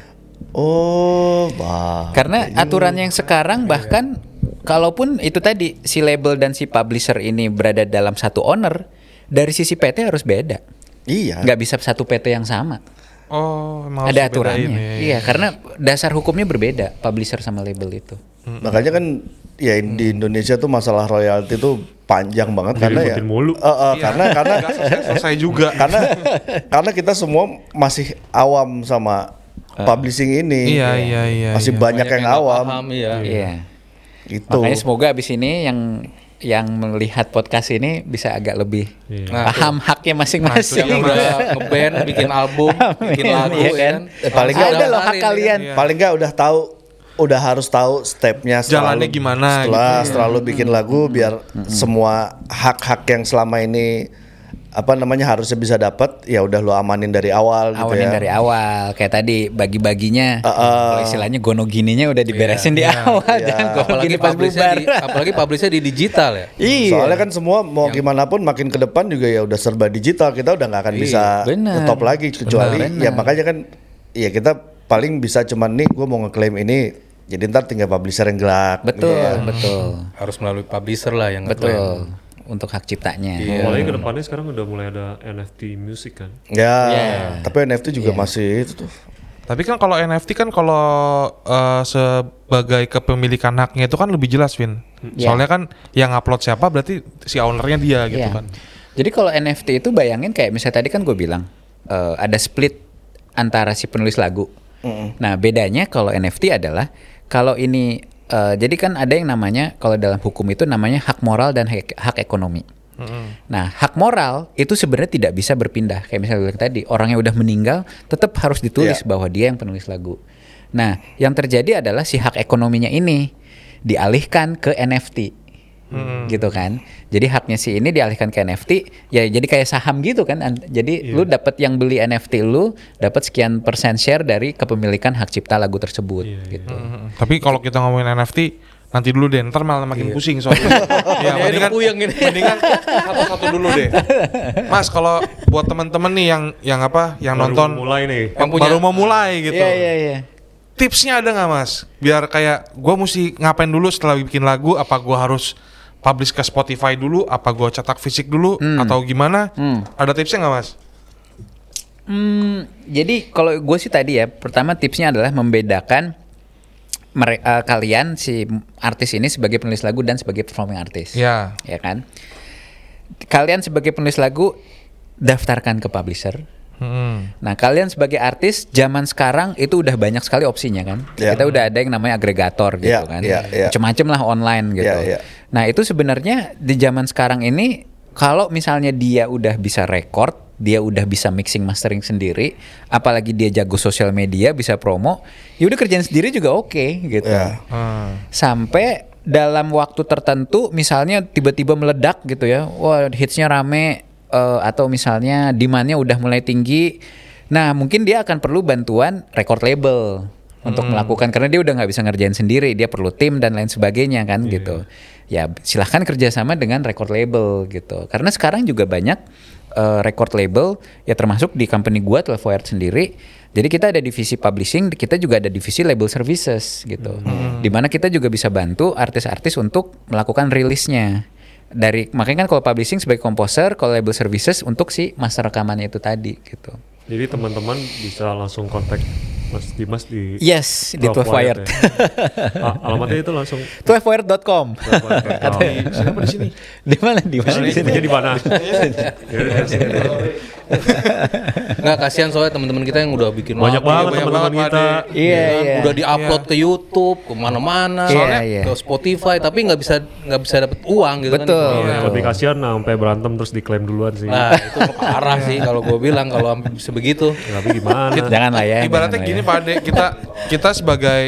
Oh, wah. Karena aturan yang sekarang bahkan kalaupun itu tadi si label dan si publisher ini berada dalam satu owner, dari sisi PT harus beda. iya. Nggak bisa satu PT yang sama. Oh, emang harus ada dibedain aturannya. ya. Iya, karena dasar hukumnya berbeda publisher sama label itu. Makanya kan ya di Indonesia tuh masalah royalti tuh panjang banget karena ya. ributin mulu. Eh, eh, Iya, karena karena nggak selesai, selesai juga. karena karena kita semua masih awam sama publishing Eh. ini. Iya, iya, iya, Masih iya. banyak, yang, nggak awam paham, iya. Iya. gitu. Makanya semoga abis ini yang yang melihat podcast ini bisa agak lebih Iya. Nah, Gitu ya. paham haknya masing-masing. Nah, Gitu. Yang udah ngeband, bikin album, bikin Amin, lagu iya kan? kan. Eh, paling nggak ada loh hak Kemarin, kalian. Iya. Paling nggak udah tahu udah harus tahu stepnya setelah Jalannya lu- gimana gitu. Iya. setelah setelah lu bikin lagu biar semua hak-hak yang selama ini apa namanya harusnya bisa dapat ya udah lu amanin dari awal gitu Awalnya ya. dari awal kayak tadi bagi-baginya kalau istilahnya gono gininya udah Iya, diberesin di awal iya. jangan gono Apalagi gini pas publisnya bubar. di, apalagi publisnya di digital ya. Iya. Soalnya kan semua mau gimana pun makin ke depan juga ya udah serba digital kita udah nggak akan bisa Iya, benar. stop lagi kecuali Benar, benar. ya makanya kan ya kita paling bisa cuman nih gue mau ngeklaim ini jadi ntar tinggal publisher yang gerak. gitu betul, Iya. ya. betul. Harus melalui publisher lah yang Betul. ngeklaim. Untuk hak ciptanya. Iya. Apalagi ke depannya sekarang udah mulai ada NFT music kan. Ya, Iya. tapi NFT juga masih itu tuh. Tapi kan kalau NFT kan kalau eh, sebagai kepemilikan haknya itu kan lebih jelas, Vin. Iya. Soalnya kan yang upload siapa berarti si ownernya dia gitu Iya. kan. Jadi kalau NFT itu bayangin kayak misalnya tadi kan gue bilang eh, ada split antara si penulis lagu. Nah bedanya kalau NFT adalah kalau ini eh, jadi kan ada yang namanya kalau dalam hukum itu namanya hak moral dan hak, hak ekonomi. Nah hak moral itu sebenarnya tidak bisa berpindah kayak misalnya gue bilang tadi orang yang udah meninggal tetap harus ditulis Iya. bahwa dia yang penulis lagu. Nah yang terjadi adalah si hak ekonominya ini dialihkan ke NFT. gitu kan jadi haknya si ini dialihkan ke NFT ya jadi kayak saham gitu kan An- jadi lu dapat yang beli NFT lu dapat sekian persen share dari kepemilikan hak cipta lagu tersebut gitu Mm-mm. Mm-hmm. Tapi kalau kita ngomongin NFT nanti dulu deh, ntar malah makin pusing soalnya. ya, Ini ada mendingan, puyeng ini. mendingan satu-satu dulu deh. Mas, kalau buat teman-teman nih yang yang apa, yang Baru nonton mulai nih. yang punya- baru mau mulai gitu. Iya iya iya. Tipsnya ada nggak mas? Biar kayak gue mesti ngapain dulu setelah bikin lagu? Apa gue harus publish ke Spotify dulu? Apa gue cetak fisik dulu? Atau gimana? Ada tipsnya nggak mas? Hmm, jadi kalau gue sih tadi ya, pertama tipsnya adalah membedakan mere- eh, kalian si artis ini sebagai penulis lagu dan sebagai performing artist. Ya. Ya kan? Kalian sebagai penulis lagu daftarkan ke publisher. Hmm. Nah, kalian sebagai artis zaman sekarang itu udah banyak sekali opsinya kan. Ya. Kita udah ada yang namanya agregator gitu Ya, kan. ya, ya. Macem-macem lah online gitu. Ya, ya. Nah, itu sebenarnya di zaman sekarang ini kalau misalnya dia udah bisa record, dia udah bisa mixing mastering sendiri, apalagi dia jago sosial media, bisa promo, ya udah kerjaan sendiri juga oke gitu. Ya. Hmm. Sampai dalam waktu tertentu misalnya tiba-tiba meledak gitu ya. Wah, hitsnya rame eh, atau misalnya demand-nya udah mulai tinggi. Nah, mungkin dia akan perlu bantuan record label untuk melakukan karena dia udah nggak bisa ngerjain sendiri, dia perlu tim dan lain sebagainya kan gitu. Ya, silahkan kerjasama dengan record label gitu. Karena sekarang juga banyak eh, record label ya termasuk di company gua Telvoyard sendiri. Jadi kita ada divisi publishing, kita juga ada divisi label services gitu. Dimana kita juga bisa bantu artis-artis untuk melakukan rilisnya. Dari makanya kan kalau publishing sebagai komposer, kalau label services untuk si master rekamannya itu tadi gitu. Jadi teman-teman bisa langsung kontak Mas Dimas di Yes, di Twelve 12 Wired. ya. Ah, alamatnya itu langsung 12wired.com. Atau Siapa di sini? di mana di mana di sini? jadi Nah, di mana? Yaudah, sini. Nggak kasihan soalnya teman-teman kita yang udah bikin Banyak lagu, banget banyak teman-teman banget, kita. Pak Iya, kan? iya. udah diupload ke YouTube, kemana-mana, Iya, soalnya iya. ke Spotify, tapi nggak bisa nggak bisa dapet uang gitu Betul. kan? Iya, yang lebih kasihan nah, sampai berantem terus diklaim duluan sih. Nah itu parah sih kalau gue bilang kalau sampai bisa begitu. Ya, Tapi gimana? Jangan lah ya. Ibaratnya jangan lah gini ya. Pak Ade, kita kita sebagai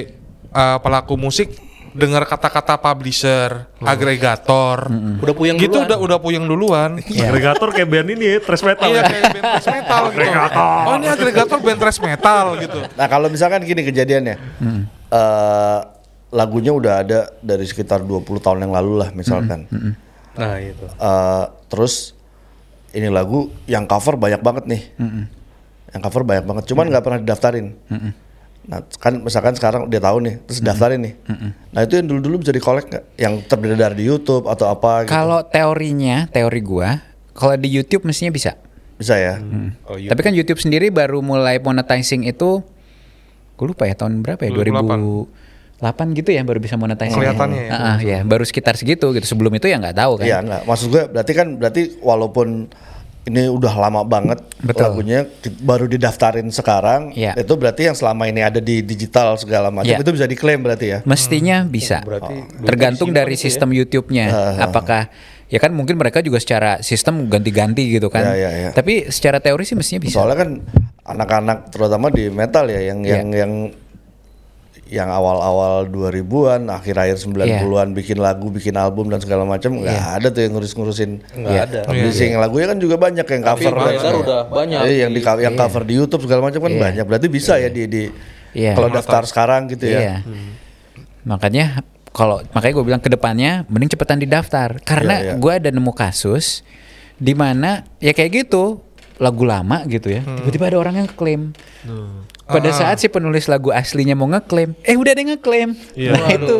uh, pelaku musik dengar kata-kata publisher, Hmm. agregator, Udah puyeng gitu duluan. udah udah puyeng duluan. Iya. Iya. Agregator kayak band ini ya, thrash metal Iya ya. kayak band thrash metal gitu. Oh ini agregator band thrash metal gitu. Nah kalau misalkan gini kejadiannya, eh, lagunya udah ada dari sekitar 20 tahun yang lalu lah misalkan. Nah itu. Eh, terus ini lagu yang cover banyak banget nih, yang cover banyak banget. Cuman nggak pernah didaftarin. Nah kan misalkan sekarang dia tahu nih, terus daftarin nih. Nah itu yang dulu-dulu bisa dikolek nggak? Yang terberedar di YouTube atau apa? Gitu. Kalau teorinya, teori gua, kalau di YouTube mestinya bisa. Bisa ya? Tapi kan YouTube sendiri baru mulai monetizing itu gue lupa ya tahun berapa ya 2008, gitu ya baru bisa monetizing. Kelihatannya ya. ya. Ah, ah, ya, baru sekitar segitu gitu. Sebelum itu ya nggak tahu kan. Iya nggak. Maksud gue berarti kan berarti walaupun ini udah lama banget Betul. lagunya di- baru didaftarin sekarang Iya. itu berarti yang selama ini ada di digital segala macam Iya. itu bisa diklaim berarti ya. Mestinya bisa. Tergantung dari sistem YouTube-nya. Apakah ya kan mungkin mereka juga secara sistem ganti-ganti gitu kan. Ya, ya, ya. Tapi secara teori sih mestinya bisa. Soalnya kan anak-anak terutama di metal ya yang Iya. yang yang yang awal-awal 2000-an, akhir-akhir Iya. 90-an bikin lagu, bikin album dan segala macam nggak ada tuh yang ngurus-ngurusin. Nggak Iya. ada. Publishing lagunya kan juga banyak yang cover Tapi dan beredar segala- udah banyak. Iya, yang di yang cover di YouTube segala macam kan Iya. banyak. Berarti bisa ya di di Iya. kalau daftar sekarang gitu ya. Iya. Makanya kalau makanya gue bilang ke depannya mending cepetan didaftar Iya, iya. karena gua ada nemu kasus di mana ya kayak gitu lagu lama gitu ya Hmm. tiba-tiba ada orang yang klaim Nah, pada Ah. saat si penulis lagu aslinya mau ngeklaim eh udah ada yang ngeklaim Iya. nah Waduh, itu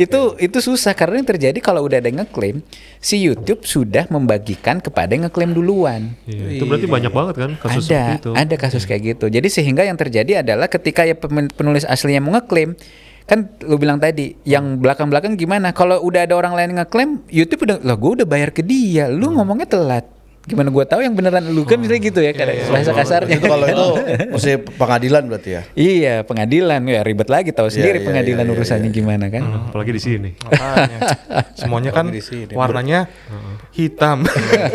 itu itu susah karena yang terjadi kalau udah ada yang ngeklaim si YouTube sudah membagikan kepada yang ngeklaim duluan Iya, Itu berarti banyak banget kan kasus ada, seperti itu. ada kasus kayak gitu. Jadi sehingga yang terjadi adalah ketika ya pemen- penulis aslinya mau ngeklaim, kan lu bilang tadi, yang belakang-belakang gimana? Kalau udah ada orang lain ngeklaim, YouTube udah, lah gue udah bayar ke dia, lu Hmm. ngomongnya telat. Gimana gue tahu yang beneran lu kan misalnya gitu ya, Iya, kadang bahasa kasarnya. Itu kalau itu mesti pengadilan berarti ya. Iya, pengadilan ya ribet lagi tahu sendiri iya, pengadilan iya, iya, urusannya gimana kan. Apalagi di sini. Makanya. ya? Semuanya kan warnanya hitam.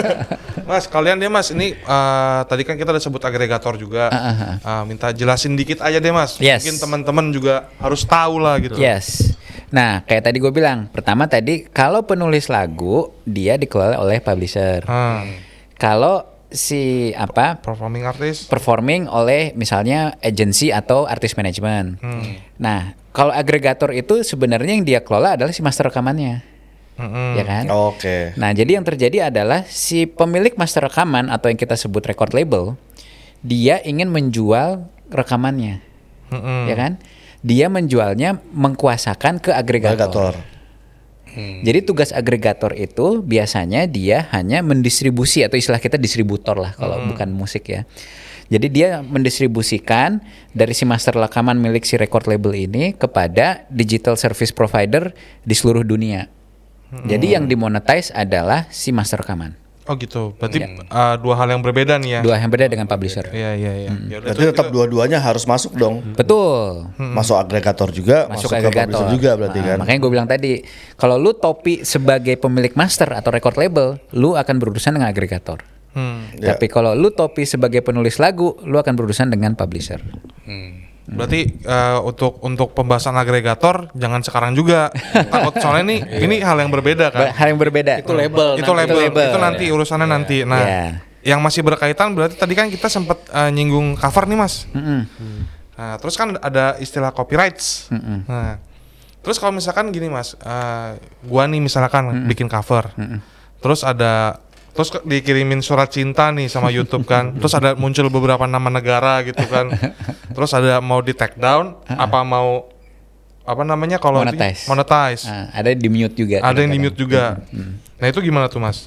mas, kalian deh Mas, ini eh, tadi kan kita udah sebut agregator juga. Eh, minta jelasin dikit aja deh Mas. Ah, Yes. Mungkin teman-teman juga harus tahu lah gitu. Yes. Nah, kayak tadi gue bilang, pertama tadi kalau penulis lagu dia dikelola oleh publisher. Hmm. Ah, Kalau si apa performing artist. performing oleh misalnya agency atau artis manajemen. Nah, kalau agregator itu sebenarnya yang dia kelola adalah si master rekamannya, Mm-mm. ya kan? Oh, Oke. Nah, jadi yang terjadi adalah si pemilik master rekaman atau yang kita sebut record label, dia ingin menjual rekamannya, Mm-mm. ya kan? Dia menjualnya mengkuasakan ke agregator. Agregator. Jadi tugas agregator itu biasanya dia hanya mendistribusi atau istilah kita distributor lah kalau bukan musik ya. Jadi dia mendistribusikan dari si master rekaman milik si record label ini kepada digital service provider di seluruh dunia. Jadi yang dimonetize adalah si master rekaman. Oh gitu. Berarti ah, dua hal yang berbeda nih ya. Iya. Dua yang beda dengan publisher. Iya iya iya. Yaudah, Berarti itu- tetap dua-duanya harus masuk dong. Betul. Masuk agregator juga, Masuk, masuk, ke ke agregator publisher juga berarti Ah, kan. Makanya gue bilang tadi, kalau lu topi sebagai pemilik master atau record label, lu akan berurusan dengan agregator. Hmm. Ya. Tapi kalau lu topi sebagai penulis lagu, lu akan berurusan dengan publisher. Berarti eh, untuk untuk pembahasan agregator jangan sekarang juga. Takut soalnya nih ini hal yang berbeda kan. Iya. Ba- Hal yang berbeda. Itu label. itu nanti. label, itu, label. nanti urusannya nanti. Nah, Iya. yang masih berkaitan berarti tadi kan kita sempat eh, nyinggung cover nih mas. Nah, terus kan ada istilah copyrights. Nah, terus kalau misalkan gini mas, eh, gua nih misalkan bikin cover, terus ada terus ke- dikirimin surat cinta nih sama YouTube kan, terus ada muncul beberapa nama negara gitu kan, terus ada mau di take down, apa mau apa namanya kalau itu- Monetize. monetize. Ah, ada di mute juga. ada yang di mute kadang-kadang. juga. Nah itu gimana tuh mas?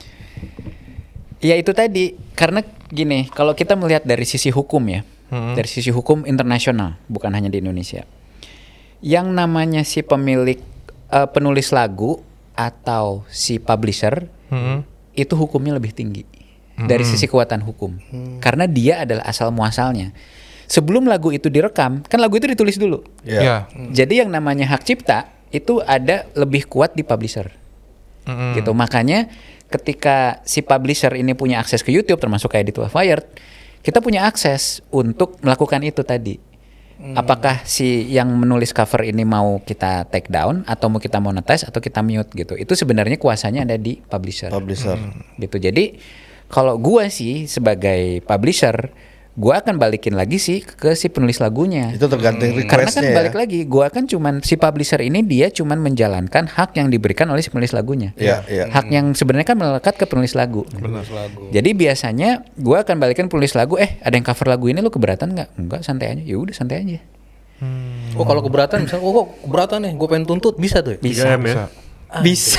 Ya itu tadi karena gini, kalau kita melihat dari sisi hukum ya, dari sisi hukum internasional, bukan hanya di Indonesia. Yang namanya si pemilik eh, penulis lagu atau si publisher Hmm. itu hukumnya lebih tinggi dari sisi kekuatan hukum karena dia adalah asal muasalnya. Sebelum lagu itu direkam, kan lagu itu ditulis dulu. Ya. Ya. Jadi yang namanya hak cipta itu ada lebih kuat di publisher. Mm-mm. Gitu. Makanya ketika si publisher ini punya akses ke YouTube termasuk kayak di Tua Fired, kita punya akses untuk melakukan itu tadi. Apakah si yang menulis cover ini mau kita take down atau mau kita monetize atau kita mute gitu. Itu sebenarnya kuasanya ada di publisher Publisher. gitu. Jadi kalau gua sih sebagai publisher, gua akan balikin lagi sih ke si penulis lagunya. Itu tergantung Karena kan requestnya ya. balik lagi, gua kan cuman si publisher ini dia cuman menjalankan hak yang diberikan oleh si penulis lagunya. Iya, iya. Hak yang sebenarnya kan melekat ke penulis lagu. Jadi biasanya gua akan balikan penulis lagu, eh ada yang cover lagu ini lu keberatan nggak? Enggak, santai aja. Ya udah santai aja. Oh kalau keberatan misalnya, oh kok keberatan nih, gue pengen tuntut bisa tuh. Ya? Bisa. 3M ya. Ah, Bisa.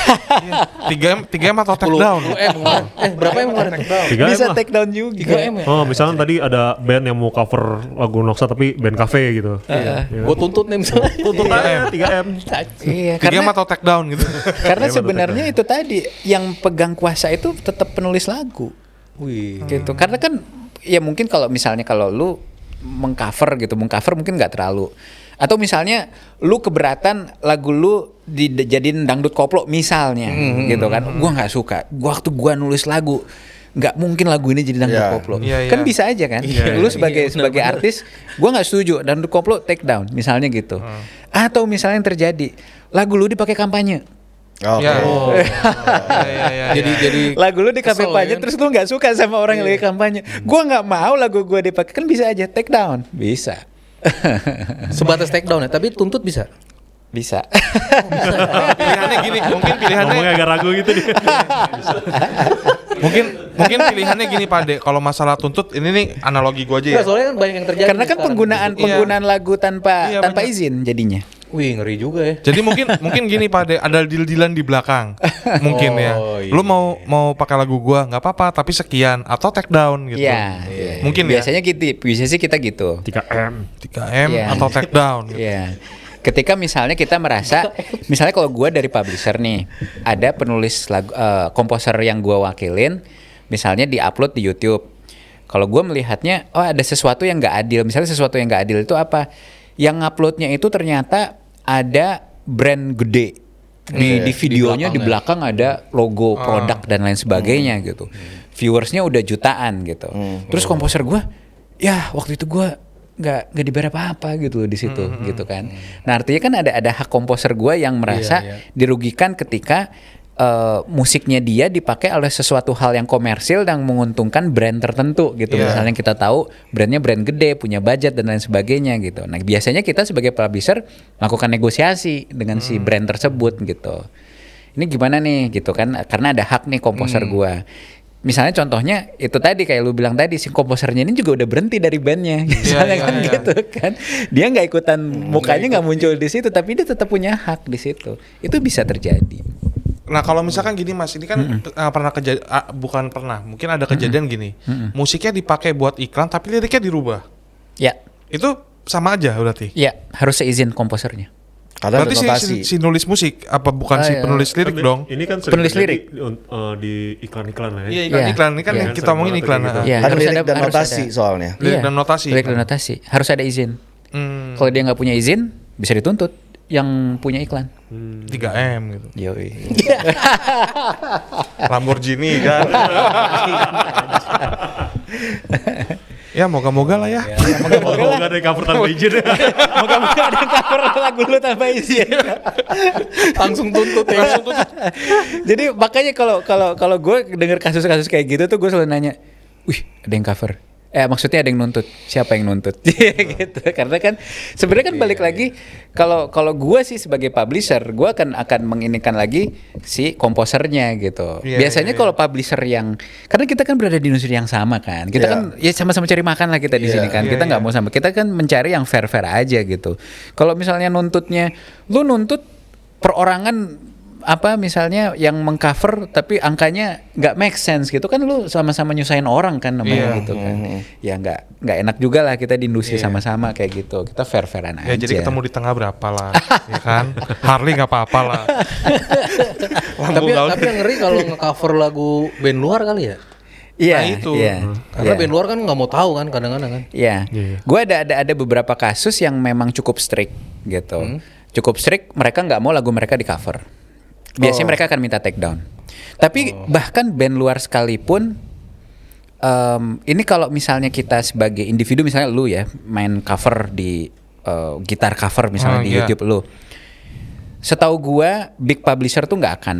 tiga m tiga m atau take down 10 M kemarin. Eh berapa yang kemarin? 3M Bisa lah. take down juga. 3 M ya? Oh, misalnya tadi ada band yang mau cover lagu Noxa tapi band cafe gitu. Gue Ya, tuntut nih misalnya. Tuntut aja 3M. Iya, tiga m karena atau take down gitu karena Iya, betul, sebenarnya itu tadi yang pegang kuasa itu tetap penulis lagu. Wih. gitu karena kan ya mungkin kalau misalnya kalau lu mengcover gitu mengcover mungkin nggak terlalu atau misalnya lu keberatan lagu lu dijadiin dangdut koplo misalnya gitu kan gua nggak suka gua waktu gua nulis lagu nggak mungkin lagu ini jadi dangdut Iya. koplo Iya, iya. kan bisa aja kan lu sebagai Iya, sebagai benar-benar. artis gua nggak setuju dangdut koplo take down misalnya gitu atau misalnya yang terjadi lagu lu dipakai kampanye Oh. Oke. ya Ya, ya, ya, ya. Jadi jadi lagu lu di kesel, kampanye ya kan? terus lu nggak suka sama orang yang lagi kampanye gua nggak mau lagu gua dipakai kan bisa aja take down bisa sebatas take down ya, tapi tuntut bisa. bisa pilihannya gini mungkin pilihannya Ngomongnya agak ragu gitu dia. mungkin mungkin pilihannya gini pak De kalau masalah tuntut ini nih analogi gua aja ya Nggak, soalnya kan banyak yang terjadi. karena kan sekarang. penggunaan Iya. penggunaan lagu tanpa Iya, tanpa banyak. izin jadinya Wih ngeri juga ya. jadi mungkin mungkin gini pak De ada deal-dealan di belakang mungkin ya Oh, iya. lu mau mau pakai lagu gua nggak apa-apa tapi sekian atau take down gitu Iya. mungkin ya biasanya gitu biasanya sih kita gitu 3M. tiga m Iya. atau take down gitu. Iya. Ketika misalnya kita merasa, misalnya kalau gua dari publisher nih, ada penulis lagu, eh, komposer yang gua wakilin, misalnya diupload di YouTube. Kalau gua melihatnya, oh ada sesuatu yang nggak adil. Misalnya sesuatu yang nggak adil itu apa? Yang uploadnya itu ternyata ada brand gede di, di videonya di belakang, ada logo produk dan lain sebagainya gitu. Viewersnya udah jutaan gitu. Terus komposer gua, ya waktu itu gua nggak nggak dibayar apa-apa gitu di situ Mm-hmm. gitu kan. Nah artinya kan ada ada hak komposer gua yang merasa Iya, dirugikan ketika eh, musiknya dia dipakai oleh sesuatu hal yang komersil yang menguntungkan brand tertentu gitu. Iya. Misalnya kita tahu brandnya brand gede, punya budget dan lain sebagainya gitu. Nah biasanya kita sebagai publisher melakukan negosiasi dengan Mm-hmm. si brand tersebut gitu. Ini gimana nih gitu kan? Karena ada hak nih komposer Hmm. gua. Misalnya contohnya itu tadi kayak lu bilang tadi si komposernya ini juga udah berhenti dari bandnya, iya, Hmm, misalnya kan iya. gitu kan. Dia nggak ikutan mukanya nggak muncul di situ, tapi dia tetap punya hak di situ. Itu bisa terjadi. Nah kalau misalkan gini mas, ini kan eh, pernah kejadian, bukan pernah, mungkin ada kejadian gini, musiknya dipakai buat iklan tapi liriknya dirubah, Ya, itu sama aja berarti. ya harus seizin komposernya. Karena ada berarti si, notasi. si- si nulis musik apa bukan Ah, si iya. penulis lirik Tapi dong? Ini kan sering Penulis terjadi lirik. di, un- eh, di iklan-iklan lah ya. Iya iklan Iya. iklan ini kan Iya. yang kita omongin Sering iklan. banget ah. kayak gitu. Ya, Ada harus lirik ada Kan dan harus notasi ada. soalnya. Lirik Iya, dan notasi. Lirik dan notasi harus ada izin. Hmm, Kalau dia nggak punya izin, bisa dituntut yang punya iklan. 3M gitu. Yoi. Lamborghini kan. ya moga-moga lah ya. Kalau nggak ada yang cover tanpa izin. ya. Moga-moga ada yang cover lagu lu tanpa izin. Iya. Langsung tuntut ya. Langsung tuntut. Iya. Jadi makanya kalau kalau kalau gue denger kasus-kasus kayak gitu tuh gue selalu nanya, wih ada yang cover. Eh maksudnya ada yang nuntut. Siapa yang nuntut? gitu. Karena kan sebenarnya kan Iya, balik lagi kalau kalau gue sih sebagai publisher, gue akan akan menginikan lagi si komposernya gitu. Iya, Biasanya iya, kalau publisher yang karena kita kan berada di industri yang sama kan. Kita Iya. kan ya sama-sama cari makan lah kita di Iya, sini kan. iya, kita nggak iya. mau sama. Kita kan mencari yang fair-fair aja gitu. Kalau misalnya nuntutnya lu nuntut perorangan apa misalnya yang mengcover tapi angkanya nggak make sense gitu kan lu sama-sama nyusahin orang kan namanya Iya. gitu kan. Ya nggak nggak enak juga lah kita di industri sama-sama kayak gitu. Kita fair-fairan aja. Ya jadi ketemu di tengah berapa lah, ya kan? Harley nggak apa-apa lah. tapi, Lambung gaul. tapi yang ngeri kalau nge-cover lagu band luar kali ya. Iya. Nah, itu. Iya. Karena Iya. band luar kan nggak mau tahu kan kadang-kadang kan. Iya. Iya. Gue ada ada ada beberapa kasus yang memang cukup strict gitu. Cukup strict, mereka nggak mau lagu mereka di cover. Biasanya mereka akan minta take down. Tapi bahkan band luar sekalipun em, ini kalau misalnya kita sebagai individu misalnya lu ya main cover di eh, gitar cover misalnya Oh, di iya. YouTube lu. Setahu gua big publisher tuh nggak akan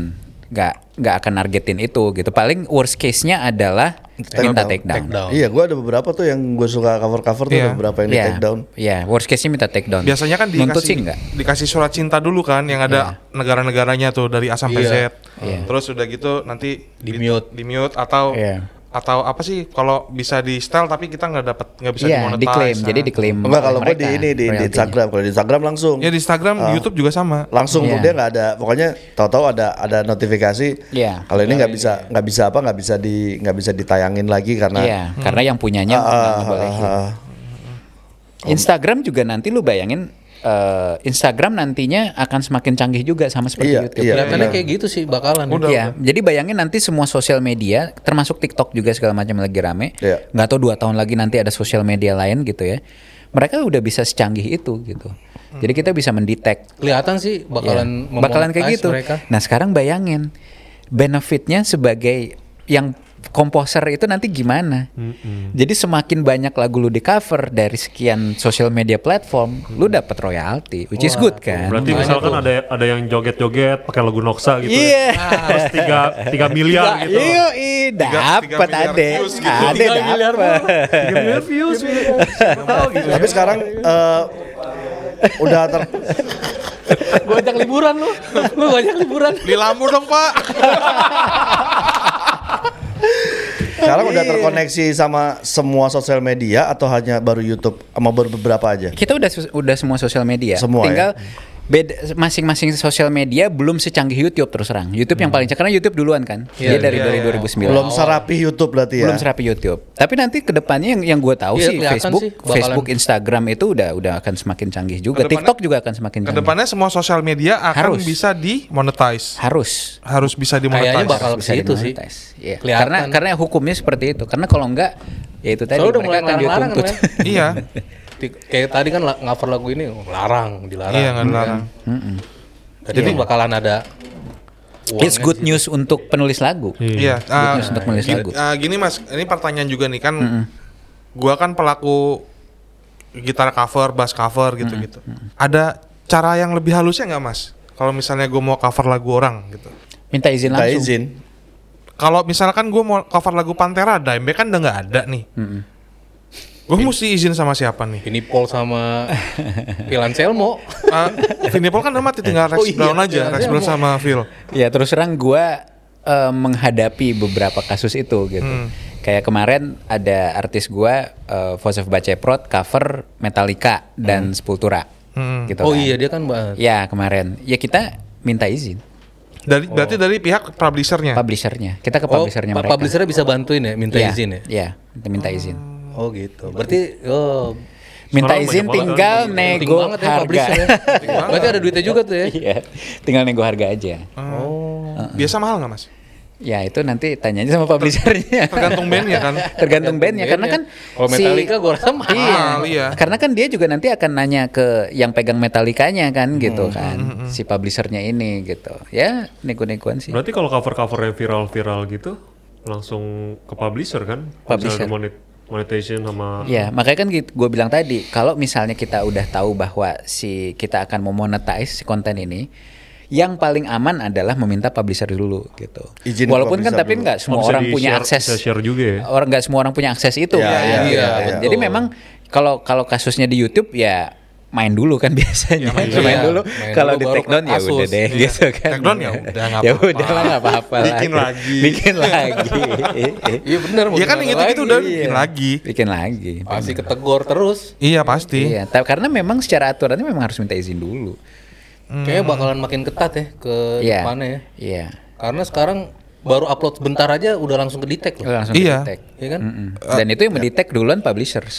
nggak nggak akan nargetin itu gitu. Paling worst case-nya adalah Take minta down. take down. Take down. Iya, gua ada beberapa tuh yang gue suka cover-cover tuh Iya. ada beberapa yang di Iya, take down. Iya, worst case-nya minta take down. Biasanya kan Nuntut sih dikasih enggak? dikasih surat cinta dulu kan yang ada negara-negaranya tuh dari A sampai Z. Iya. Iya. Terus udah gitu nanti Di mute. di mute atau Iya. atau apa sih kalau bisa di style tapi kita nggak dapat nggak bisa Iya, dimonetize. diklaim. nah. Jadi diklaim. Enggak kalau gue mereka di ini di, di royaltinya. Instagram, kalau di Instagram langsung. Ya di Instagram, Oh. di YouTube juga sama. langsung Iya. dia nggak ada pokoknya tahu-tahu ada ada notifikasi Iya. kalau ini nggak bisa nggak bisa apa nggak bisa di nggak bisa ditayangin lagi karena Iya, karena yang punyanya Nah. Ah, nggak ah, ngebolehin. ah, ah. Instagram juga nanti lu bayangin eh, Instagram nantinya akan semakin canggih juga sama seperti Iya, YouTube. iya. Kelihatannya benar. kayak gitu sih bakalan. ya. Udah. Iya, jadi bayangin nanti semua sosial media, termasuk TikTok juga segala macam lagi rame. Iya. Nggak tahu dua tahun lagi nanti ada sosial media lain gitu ya. Mereka udah bisa secanggih itu gitu. Hmm. Jadi kita bisa mendetek Kelihatan sih bakalan Iya, bakalan kayak memonetize gitu. mereka. Nah sekarang bayangin benefitnya sebagai yang komposer itu nanti gimana? Jadi semakin banyak lagu lu di cover dari sekian social media platform, lu dapat royalti, which is good Iya. kan? Berarti gitu ya. Makanya misalkan tuh. ada ada yang joget-joget pakai lagu Noxa gitu. Iya. ya. Terus tiga tiga miliar gitu. Iya, dapat Nah, tiga miliar ade, Nah, views gitu. ade Tiga miliar dapat. Tiga miliar views. Siapa tahu gitu. tapi sekarang eh, udah ter Gua ajak liburan lu. Lu gua ajak liburan. Beli lampu dong pak. sekarang udah terkoneksi sama semua sosial media atau hanya baru YouTube sama baru beberapa aja Kita udah sus- udah semua sosial media. Semua, Tinggal beda masing-masing sosial media belum secanggih YouTube terus terang. YouTube yang paling canggih karena YouTube duluan kan. Iya, Dia dari iya, iya. 2009. belum serapi YouTube berarti ya Oh. belum serapi YouTube. Tapi nanti kedepannya yang yang gue tahu Iya, sih kelihatan Facebook, sih, bakalan. Facebook, Instagram itu udah udah akan semakin canggih juga. Kedepannya- TikTok juga akan semakin canggih. Kedepannya semua sosial media akan Harus. bisa dimonetize. harus Harus bisa dimonetize. Kayaknya bakal ke bisa situ sih. dimonetize. Iya. Kelihatan. Karena karena hukumnya seperti itu. Karena kalau enggak ya itu tadi Soalnya udah mereka mulai akan larang-larang dituntut. kan. iya. Di- Kayak tadi kan la- cover lagu ini oh, larang, dilarang. Iya nggak dilarang. Mm-mm. Jadi bakalan ada Iya. It's good news untuk penulis lagu. Iya. ah, news untuk menulis gini, lagu. ah, gini mas, ini pertanyaan juga nih kan, gua kan pelaku gitar cover, bass cover gitu-gitu. Ada cara yang lebih halusnya nggak mas? Kalau misalnya gue mau cover lagu orang gitu. Minta izin Minta langsung. izin. Kalau misalkan gue mau cover lagu Pantera, Dimebag kan udah nggak ada nih. Gue mesti izin sama siapa nih? Ini Paul sama Ilan Selmo. Ah, Vinnie Paul kan udah mati tinggal Rex Oh iya, Brown aja, iya, Rex iya, Brown mau- sama Phil. Ya terus terang gua eh, menghadapi beberapa kasus itu gitu. Hmm. Kayak kemarin ada artis gua eh, Vosef Baceprot cover Metallica dan Sepultura. Hmm. Gitu Oh kan. iya dia kan mbak. Ya kemarin. Ya kita minta izin Dari berarti dari pihak publishernya. publishernya. Kita ke Ya. Oh, publishernya pa- mereka. publishernya bisa bantuin ya, minta Iya, izin ya. Iya, kita minta izin. Oh gitu. Berarti oh Minta Sekarang izin banyak banget tinggal kan, penting nego banget ya harga. publisher ya. Berarti ada duitnya juga tuh ya. Iya, tinggal nego harga aja. Oh. Biasa mahal nggak mas? Ya itu nanti tanyanya sama publishernya. Tergantung bandnya kan. tergantung bandnya karena kan Kalau Metallica gua rasa mahal, iya. karena kan dia juga nanti akan nanya ke yang pegang Metallicanya kan gitu Hmm, kan si publishernya ini gitu ya nego-negoan sih Berarti kalau cover-cover yang viral-viral gitu langsung ke publisher kan? Publisher. Misalnya monet- monetization sama ya makanya kan gue bilang tadi kalau misalnya kita udah tahu bahwa si kita akan memonetize si konten ini yang paling aman adalah meminta publisher dulu gitu Izin walaupun kan publisher tapi dulu. nggak semua Oh, bisa orang punya di-share- akses bisa share juga ya? orang nggak semua orang punya akses itu Iya, kan, iya, gitu iya, kan. betul. jadi memang kalau kalau kasusnya di YouTube ya main dulu kan biasanya main, dulu. Iya, dulu main kalau dulu di baru take down ke ya Asus. udah deh Iya. gitu kan Take down ya udah, nggak ya apa-apa. udah lah nggak apa-apa Bikin lagi. bikin lagi Iya benar. Iya kan yang gitu-gitu udah bikin lagi. bikin lagi Masih ketegor terus. Iya pasti. iya ta- karena memang secara aturannya memang harus minta izin dulu Kayaknya bakalan makin ketat ya ke Hmm. iya depannya ya. iya Karena sekarang baru upload sebentar aja udah langsung ke detect loh. Oh, langsung Iya. Eh, ya. di-detect. Iya kan? Mm-mm. dan itu yang mendetek duluan publishers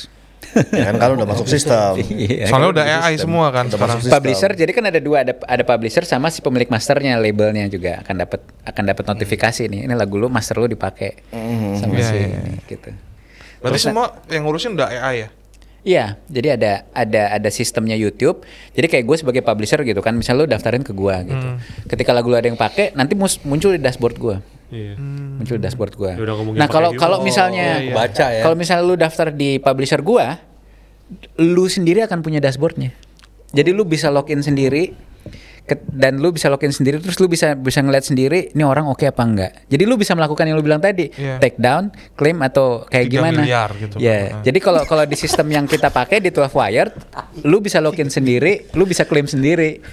Ya kan kalau udah masuk sistem. Iya, Soalnya kan? udah AI semua kan sekarang. masuk sistem. publisher jadi kan ada dua ada ada publisher sama si pemilik masternya labelnya juga akan dapat akan Hmm. dapat notifikasi nih ini lagu lu master lu dipakai sama Iya, si iya, ini, gitu Berarti semua yang ngurusin udah AI ya? Iya, jadi ada ada ada sistemnya YouTube. Jadi kayak gue sebagai publisher gitu kan, misalnya lu daftarin ke gue gitu. Hmm. Ketika lagu lu ada yang pakai, nanti mus- muncul di dashboard gue. Iya. Hmm. muncul di dashboard gua. Ya udah ngomongin Nah pakai kalau view. kalau Oh, misalnya iya, iya. Baca ya. kalau misalnya lu daftar di publisher gua, lu sendiri akan punya dashboardnya. Jadi lu bisa login sendiri ke- dan lu bisa login sendiri terus lu bisa bisa ngeliat sendiri ini orang oke apa enggak. Jadi lu bisa melakukan yang lu bilang tadi, Iya. take down, claim atau kayak Tiga gimana. miliar gitu. Ya. Ah. Jadi kalau kalau di sistem yang kita pakai di 12 Wired, lu bisa login sendiri, lu bisa claim sendiri.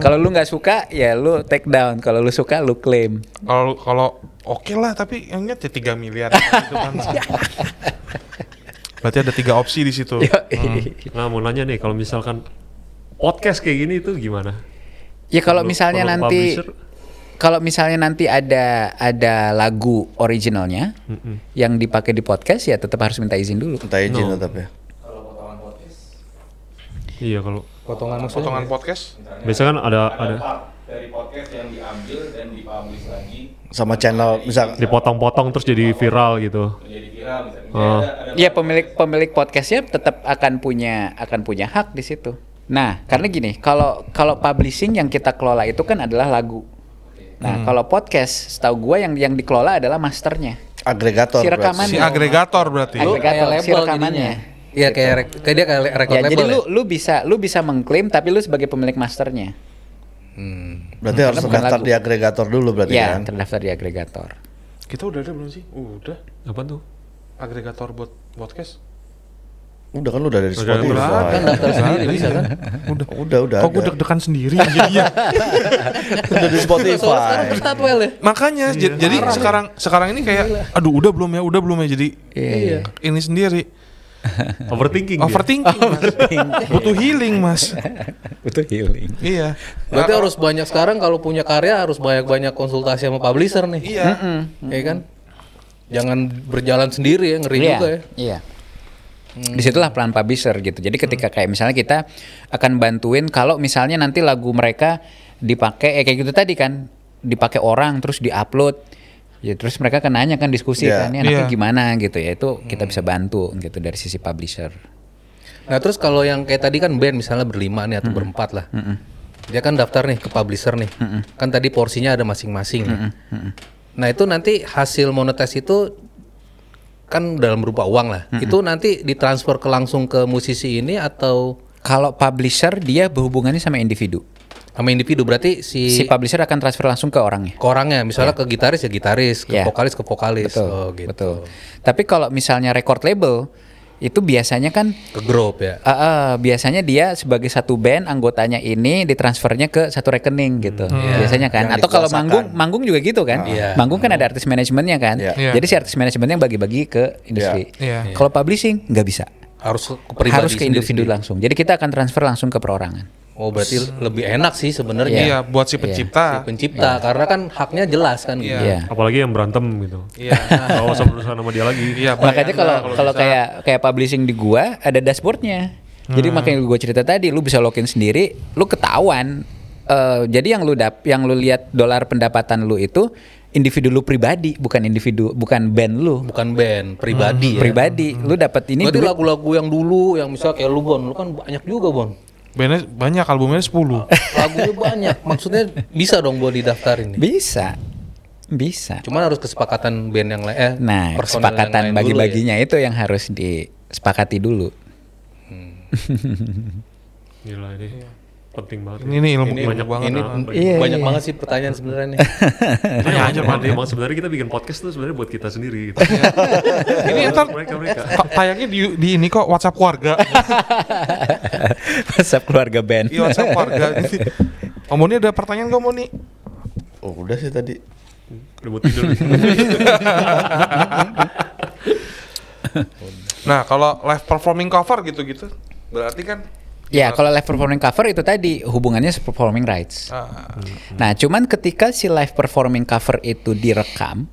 Kalau lu nggak suka ya lu take down, kalau lu suka lu claim. Kalau kalau oke lah tapi yang ingat ya 3 miliar gitu kan. Berarti ada tiga opsi di situ. Yoi. Nah mau nanya nih kalau misalkan podcast kayak gini itu gimana? Ya kalau Perlu- misalnya perlu nanti publisher? kalau misalnya nanti ada ada lagu originalnya yang dipakai di podcast ya tetap harus minta izin dulu. Minta izin No. tetap ya. Iya kalau Potongan maksudnya. Iya, Potongan podcast. biasanya kan ada ada dari podcast yang diambil dan dipublish lagi Sama channel misal dipotong-potong terus jadi viral gitu. menjadi viral misalnya. Oh. Ya pemilik pemilik podcastnya tetap akan punya akan punya hak di situ. Nah karena gini kalau kalau publishing yang kita kelola itu kan adalah lagu. Nah kalau podcast setahu gua yang yang dikelola adalah masternya. agregator. Si rekaman. Si ya? agregator berarti. Lu- agregator, si rekamannya. jadinya. Iya kayak rek- kayak dia kayak le- record Ya, label. jadi lu ya? lu bisa lu bisa mengklaim tapi lu sebagai pemilik masternya. Berarti harus bukan terdaftar lagu. di agregator dulu berarti Ya kan. terdaftar di agregator. Kita udah ada belum sih? Udah. Apa tuh? Agregator buat podcast. Udah kan lu udah dari Udah, Spotify. udah. kan daftar sendiri bisa kan? Udah. Udah udah. Kok gue ada. deg-degan sendiri jadinya? udah di Soalnya sekarang Spotify. ke Statwell ya. Makanya j- jadi sekarang sekarang ini kayak aduh udah belum ya, udah belum ya jadi Iya. ini sendiri Overthinking. ya? dia. overthinking. Mas. Butuh healing, Mas. Butuh healing. Iya. Berarti oh, harus banyak sekarang kalau punya karya harus banyak-banyak konsultasi sama publisher nih. Iya. Iya kan? Jangan berjalan sendiri ya, ngeri Iya, juga ya. Iya. Hmm. Disitulah peran publisher gitu. Jadi ketika kayak misalnya kita akan bantuin kalau misalnya nanti lagu mereka dipakai eh, kayak gitu tadi kan dipakai orang terus diupload, ya terus mereka akan nanya kan diskusi Iya, kan ini iya. enaknya gimana gitu ya itu kita bisa bantu gitu dari sisi publisher. Nah terus kalau yang kayak tadi kan band misalnya berlima nih atau berempat lah, dia kan daftar nih ke publisher nih, kan tadi porsinya ada masing-masing. nih. Nah itu nanti hasil monetis itu kan dalam berupa uang lah. Itu nanti ditransfer ke langsung ke musisi ini atau Kalau publisher dia berhubungannya sama individu. sama individu berarti si, Si publisher akan transfer langsung ke orangnya. ke orangnya, misalnya ke gitaris ya gitaris, ke Ya. vokalis ke vokalis, Betul. oh, gitu. Betul. Tapi kalau misalnya record label itu biasanya kan Ke grup ya. Ah, ah, biasanya dia sebagai satu band anggotanya ini ditransfernya ke satu rekening gitu. Hmm. Iya. Biasanya kan. Yang Atau kalau dikuasakan. manggung, manggung juga gitu kan. Iya. Manggung kan ada artis manajemennya kan. Iya. Iya. Jadi si artis manajemennya bagi-bagi ke industri. Iya. Iya. Kalau publishing nggak bisa. Harus ke pribadi Harus ke individu sendiri-sendiri. langsung. Jadi kita akan transfer langsung ke perorangan. Oh, berarti lebih enak sih sebenarnya. Iya, buat si Si pencipta. pencipta karena kan haknya jelas kan gitu. Iya. Iya. apalagi yang berantem gitu Iya. kalau usah berurusan sama dia lagi Iya, Makanya bayangin kalau lah kalau bisa. kayak kayak publishing di gua ada dashboardnya. Jadi makanya gua cerita tadi, lu bisa login sendiri, lu ketahuan. Eh, jadi yang lu dap, yang lu lihat dolar pendapatan lu itu individu lu pribadi, bukan individu, bukan band lu, Bukan band, pribadi ya. Hmm. pribadi. Lu dapat ini Berarti duit. lagu-lagu yang dulu yang misal kayak lu Bon, lu kan banyak juga Bon. Bandnya banyak albumnya 10. Lagunya banyak. Maksudnya bisa dong buat didaftarin nih. bisa, bisa. Cuman harus kesepakatan band yang lain eh Nah, personel yang lain kesepakatan dulu ya. bagi-baginya itu yang harus disepakati dulu. gila ini penting banget Ini nih ilmu Ini banyak banget. ini nah, banyak, Iya, iya. banget sih pertanyaan sebenarnya nih. Tanya aja Pak. Emang sebenarnya kita bikin podcast tuh sebenarnya buat kita sendiri gitu. Iya. Ini ntar mereka mereka. ta- tayangnya di, di ini kok WhatsApp keluarga. WhatsApp keluarga band. Iya WhatsApp keluarga. Jadi, Om Moni ada pertanyaan gak Moni? Oh, udah sih tadi. Udah mau tidur. nih. Nah kalau live performing cover gitu-gitu berarti kan Ya, kalau live performing cover itu tadi hubungannya performing rights. ah, Nah, cuman ketika si live performing cover itu direkam,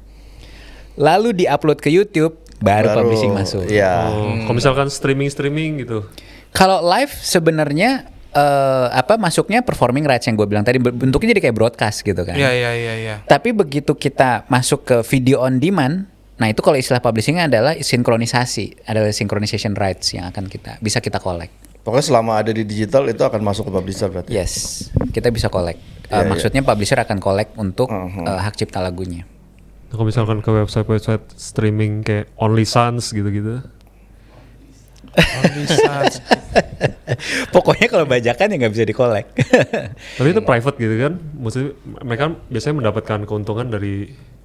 lalu diupload ke YouTube, baru, publishing masuk. Oh, Iya. Hmm. kalau misalkan streaming streaming gitu. Kalau live sebenarnya eh, apa masuknya performing rights yang gue bilang tadi bentuknya jadi kayak broadcast gitu kan. iya iya iya iya. Tapi begitu kita masuk ke video on demand, nah itu kalau istilah publishingnya adalah sinkronisasi, adalah synchronization rights yang akan kita bisa kita collect. Pokoknya selama ada di digital itu akan masuk ke publisher berarti. Yes, kita bisa collect. Eh, maksudnya publisher akan collect untuk eh, hak cipta lagunya. Nah, kalau misalkan ke website website streaming kayak OnlySans gitu gitu. Pokoknya kalau bajakan ya nggak bisa dikolek. Tapi Iya. itu private gitu kan. Maksudnya mereka biasanya mendapatkan keuntungan dari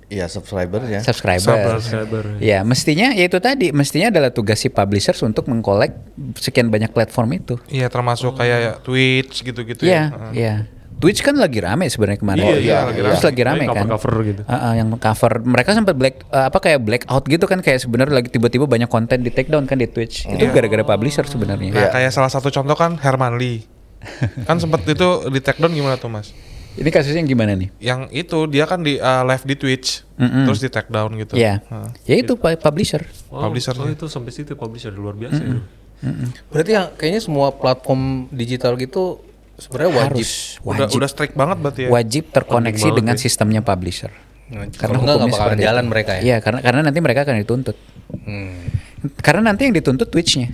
Iya, subscribernya. Subscriber. subscriber. Ya, mestinya ya itu tadi, mestinya adalah tugas si publishers untuk mengkolek sekian banyak platform itu. Iya termasuk kayak Twitch gitu-gitu Iya, ya. iya. Twitch kan lagi rame sebenarnya kemarin. Iya, iya, lagi Terus rame. lagi rame Kayak kan. cover-cover gitu. Ah, ah, yang cover. Mereka sempat black eh, apa kayak blackout gitu kan kayak sebenarnya lagi tiba-tiba banyak konten di take down kan di Twitch. Iya. Itu gara-gara publisher sebenarnya. Nah kayak salah satu contoh kan Herman Lee. kan sempet itu di take down gimana tuh mas? Ini kasusnya yang gimana nih? Yang itu dia kan di eh, live di Twitch Mm-mm. terus di take down gitu. Iya. Heeh. Ya itu pu- publisher. Wow, Publisher-nya. oh, itu sampai situ publisher luar biasa. ya. Berarti ya, kayaknya semua platform digital gitu sebenarnya wajib. Harus Udah wajib udah strict banget berarti ya. wajib Penting terkoneksi iya. banget dengan ya. sistemnya publisher. Karena enggak nggak bakalan seperti jalan itu. mereka ya. Iya, karena karena nanti mereka akan dituntut. Hmm. Karena nanti yang dituntut Twitch-nya.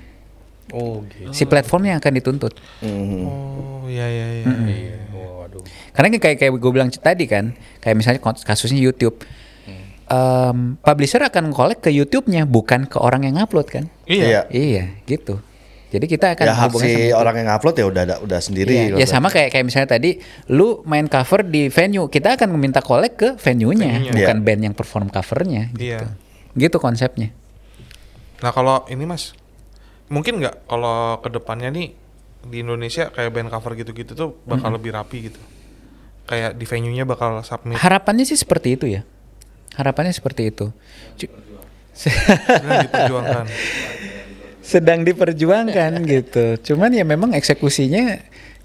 Oh gitu. Si platformnya akan dituntut. Mm-hmm. Oh iya iya iya. Iya. Waduh. Karena kayak kayak gue bilang tadi kan, kayak misalnya kont- kasusnya YouTube. Hmm. Em, publisher akan collect ke YouTube-nya bukan ke orang yang upload kan? Iya. Iya. Iya, gitu. Jadi kita akan Ya hak Kan hubungannya si sama- orang yang upload ya udah ada udah Iya, sendiri. ya sama kayak kayak misalnya tadi lu main cover di venue, kita akan meminta collect ke venue-nya, Venue-nya. bukan Iya. band yang perform covernya gitu. Iya. Gitu konsepnya. Nah kalau ini mas, mungkin nggak kalau kedepannya nih di Indonesia kayak band cover gitu-gitu tuh bakal lebih rapi gitu. Kayak di venue-nya bakal submit. Harapannya sih seperti itu ya. Harapannya seperti itu. Cu- Sedang diperjuangkan. sedang diperjuangkan gitu. Cuman ya memang eksekusinya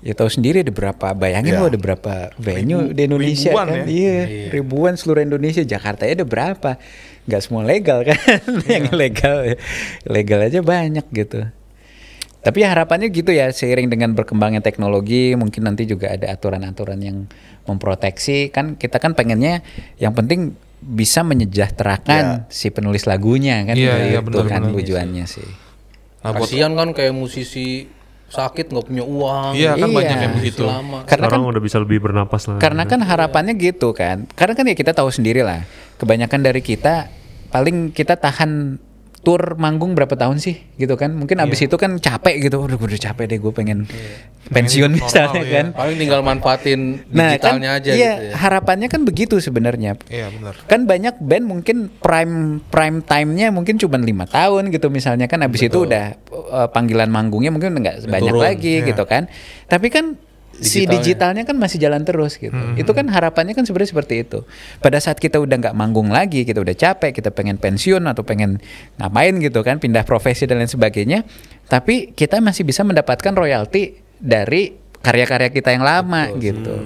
ya tahu sendiri ada berapa bayangin Iya. lo ada berapa venue di Indonesia Ya. ribuan kan ya. iya ribuan seluruh Indonesia Jakarta ada berapa nggak semua legal kan Iya. yang legal legal aja banyak gitu tapi ya harapannya gitu ya seiring dengan berkembangnya teknologi mungkin nanti juga ada aturan-aturan yang memproteksi kan kita kan pengennya yang penting bisa menyejahterakan si penulis lagunya kan Iya, iya, benar, gitu kan benar. tujuannya sih Nah, buat- Kasihan kan kayak musisi sakit nggak punya uang. Iya kan Iya. banyak yang begitu. Lama. Karena kan Orang udah bisa lebih bernapas lah. karena kan harapannya gitu kan. Karena kan ya kita tahu sendiri lah. Kebanyakan dari kita paling kita tahan tur manggung berapa tahun sih gitu kan Iya. mungkin abis itu kan capek gitu udah udah capek deh gue pengen pensiun Pengen misalnya normal, kan Paling tinggal manfaatin nah kan iya. digitalnya aja iya, gitu ya. harapannya kan begitu sebenarnya Iya benar. kan banyak band mungkin prime prime time-nya mungkin cuma lima tahun gitu misalnya kan abis itu udah eh, panggilan manggungnya mungkin nggak sebanyak Turun, lagi iya. gitu kan tapi kan si Digitalnya. digitalnya kan masih jalan terus gitu itu kan harapannya kan sebenarnya seperti itu pada saat kita udah nggak manggung lagi kita udah capek kita pengen pensiun atau pengen ngapain gitu kan pindah profesi dan lain sebagainya tapi kita masih bisa mendapatkan royalti dari karya-karya kita yang lama gitu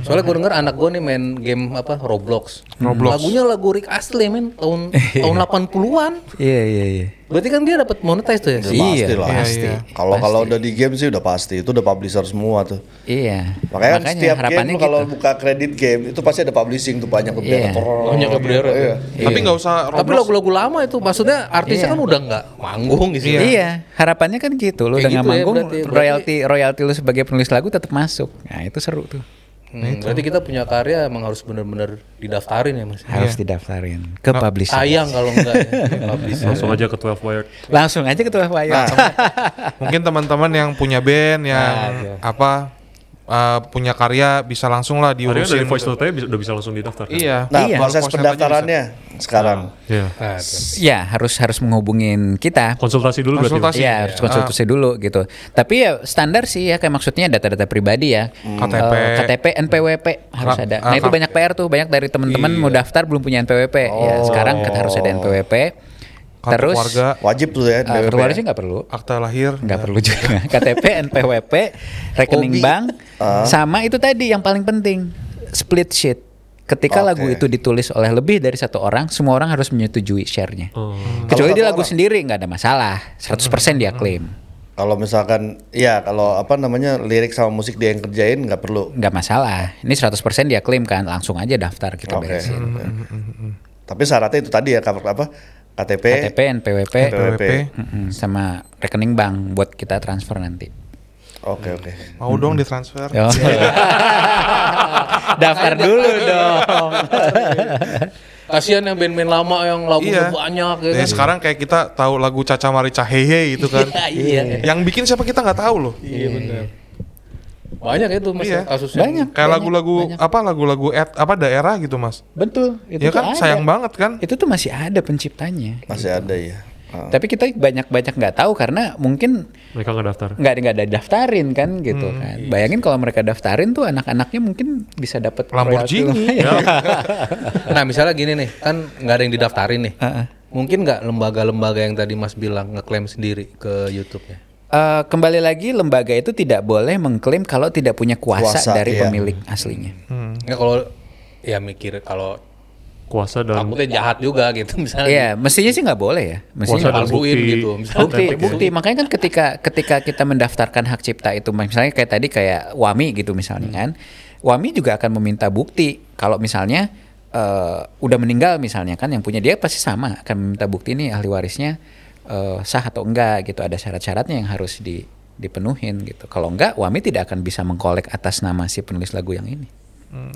Soalnya gue denger anak gue nih main game apa Roblox. Roblox. Lagunya lagu Rick Astley men tahun tahun 80-an. iya iya iya Berarti kan dia dapat monetize tuh ya. Udah pasti Iya, lah. pasti. Iya, iya. Kalau kalau udah di game sih udah pasti, itu udah publisher semua tuh. Iya. Makanya, kan setiap game lu kalau buka kredit game itu pasti ada publishing tuh banyak gitu. Iya. yeah. Oh, Banyak ya? yang berderet. Iya. ya, Tapi nggak usah Roblox. Tapi lagu-lagu lama itu maksudnya Iya. artisnya kan udah nggak manggung gitu. Iya. harapannya kan gitu. Lu udah nggak Kayak gitu ya, manggung, berarti- berarti- royalti royalti lu sebagai penulis lagu tetap masuk. Nah, itu seru tuh. Hmm, berarti kita punya karya emang harus benar-benar didaftarin ya Iya. mas. Harus didaftarin ke publisher. Sayang kalau enggak ya. Iya. publish. langsung aja ke 12 Wired. Langsung aja ke Tuah Wayo. Mungkin teman-teman yang punya band yang apa eh, punya karya bisa langsung lah Hari dari diurusin. voice note nya udah bisa langsung didaftar. kan? Iya. Nah, Iya. proses Kalau pendaftarannya sekarang. Iya. ya, harus harus menghubungin kita. Konsultasi dulu berarti. Konsultasi. Iya, harus konsultasi dulu gitu. Tapi ya standar sih ya kayak maksudnya data-data pribadi ya. KTP. Eh, KTP, NPWP harus Ra- ada. ah, Nah, itu kap- banyak PR tuh, banyak dari teman-teman mau daftar belum punya NPWP. Ya, sekarang kan harus ada NPWP. Kartu Terus keluarga, Wajib tuh eh, ya. kartu DWP. keluarga sih nggak perlu. akta lahir. nggak perlu juga KTP NPWP rekening bank ah. sama itu tadi yang paling penting split sheet ketika Oke. lagu itu ditulis oleh lebih dari satu orang semua orang harus menyetujui sharenya Oh. kecuali Kalau di satu lagu orang? sendiri nggak ada masalah 100% dia klaim Kalau misalkan, ya kalau apa namanya lirik sama musik dia yang kerjain nggak perlu. nggak masalah ini 100% dia klaim kan langsung aja daftar kita Oke. beresin Tapi syaratnya itu tadi ya cover apa KTP, KTP NPWP DWP. mm-mm, sama rekening bank buat kita transfer nanti Oke oke. Mau dong ditransfer. Iya. Oh. daftar dulu dong Kasihan yang band-band lama yang lagunya Iya. banyak gitu. Ya, sekarang kayak kita tahu lagu Caca Marica Hehe itu kan. Iya. Yang bikin siapa kita nggak tahu loh. Iya benar. Banyak itu mas Iya. kasusnya. Banyak. Kayak lagu-lagu apa lagu-lagu et- apa daerah gitu mas. Betul, itu ya tuh kan ada. sayang banget kan. Itu tuh masih ada penciptanya. Masih ada ya. Ah. Tapi kita banyak-banyak nggak tahu karena mungkin Mereka nggak daftar. nggak nggak ada daftarin kan gitu Hmm, kan. iya Bayangin kalau mereka daftarin tuh anak-anaknya mungkin bisa dapat Lamborghini. ya. Nah misalnya gini nih kan nggak ada yang didaftarin nih. Heeh. Mungkin nggak lembaga-lembaga yang tadi Mas bilang ngeklaim sendiri ke YouTube-nya. Eh, kembali lagi lembaga itu tidak boleh mengklaim kalau tidak punya kuasa, Kuasa, dari iya. pemilik aslinya. Hmm. Ya kalau ya mikir kalau Kuasa dalam takutnya jahat juga gitu misalnya. Iya, mestinya sih nggak boleh ya. Mestinya kuasa nggak dalam boleh. palsuin bukti. gitu, misalnya. bukti Otentik ya. bukti makanya kan ketika ketika kita mendaftarkan hak cipta itu misalnya kayak tadi kayak Wami gitu misalnya kan Wami juga akan meminta bukti kalau misalnya eh, udah meninggal misalnya kan yang punya dia pasti sama akan meminta bukti nih ahli warisnya eh, sah atau enggak gitu ada syarat-syaratnya yang harus di dipenuhin gitu kalau enggak Wami tidak akan bisa mengkolek atas nama si penulis lagu yang ini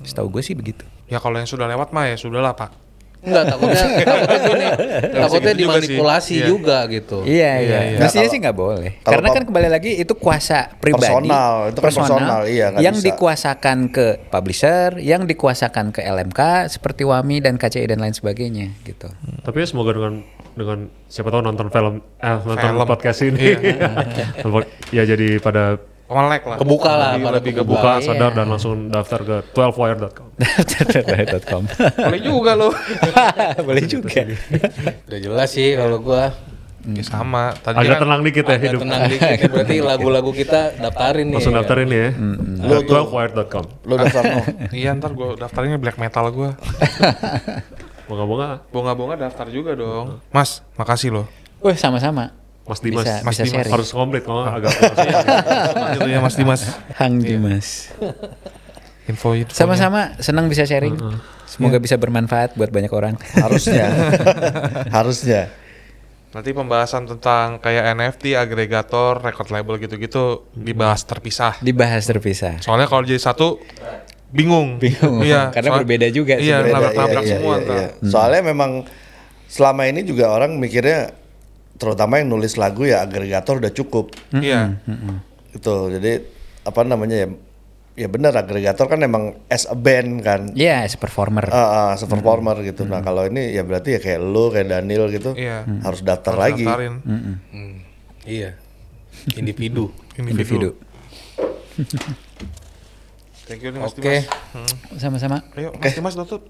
setahu gue sih begitu Ya kalau yang sudah lewat mah ya sudahlah pak. Enggak takutnya takutnya gini, takutnya gitu juga dimanipulasi sih. Iya. juga gitu. Iya iya. iya. Mestinya Kalau- sih nggak boleh. kalau Karena pub- kan kembali lagi itu kuasa pribadi. Personal, itu kan personal, iya, nggak Yang bisa. dikuasakan ke publisher, yang dikuasakan ke LMK seperti Wami dan KCI dan lain sebagainya gitu. Tapi ya semoga dengan dengan siapa tahu nonton film eh nonton Film. podcast ini. ya jadi pada Melek lah. Kebuka lah, Lebih, pada lebih kebuka. kebuka Iya. sadar dan langsung daftar ke 12wire.com. Daftar.com. Boleh juga loh. Iya. Boleh juga. Udah jelas sih kalau gua Ya sama. Tadi Agak kan tenang dikit ya agak Iya. hidup. tenang dikit nih, berarti lagu-lagu kita daftarin nih. Langsung daftarin ya. Lu Ke 12wire.com. Lu daftar no. Iya ntar gue daftarinnya black metal gue. Moga-moga Bonga-bonga daftar juga dong. Mas, makasih loh. Wah sama-sama. Mas Dimas Bisa, Mas bisa Dimas. sharing. harus komplit kalau nggak agak gitu ya Mas Dimas. Hang Dimas. Info info. Iya. Sama-sama senang bisa sharing. Semoga bisa bermanfaat buat banyak orang. harusnya. harusnya. Nanti pembahasan tentang kayak NFT, agregator, record label gitu-gitu dibahas terpisah. Dibahas terpisah. Soalnya kalau jadi satu bingung. Bingung, karena soal- berbeda juga Iya, Beda, nabrak-nabrak iya, iya, semua iya, ntar. iya. Soalnya memang selama ini juga orang mikirnya terutama yang nulis lagu ya agregator udah cukup Iya. itu jadi apa namanya ya ya benar agregator kan emang as a band kan Iya, as a performer. Ah, ah, as a performer gitu nah kalau ini ya berarti ya kayak lo kayak Daniel gitu Iya. harus daftar lagi Daftarin Iya. Individu. individu. individu. Thank you nih Mas Oke. Dimas. Sama-sama. Ayo Mas Dimas tutup.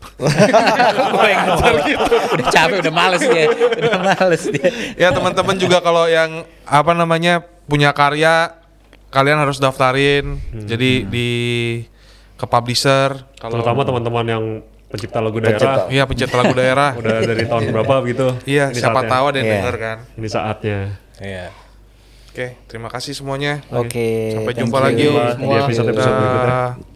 udah capek, udah males dia. Udah males dia. ya teman-teman juga kalau yang apa namanya punya karya kalian harus daftarin. Jadi di ke publisher kalau Terutama teman-teman yang pencipta lagu daerah Pencipta. Iya pencipta lagu daerah. udah dari tahun berapa gitu. Iya, Ini siapa saatnya. tahu ada yang Iya. denger kan. Ini saatnya. Iya. Oke, terima kasih semuanya. Oke. Sampai thank jumpa you. lagi Jumpa di semua. episode-episode berikutnya. Dah.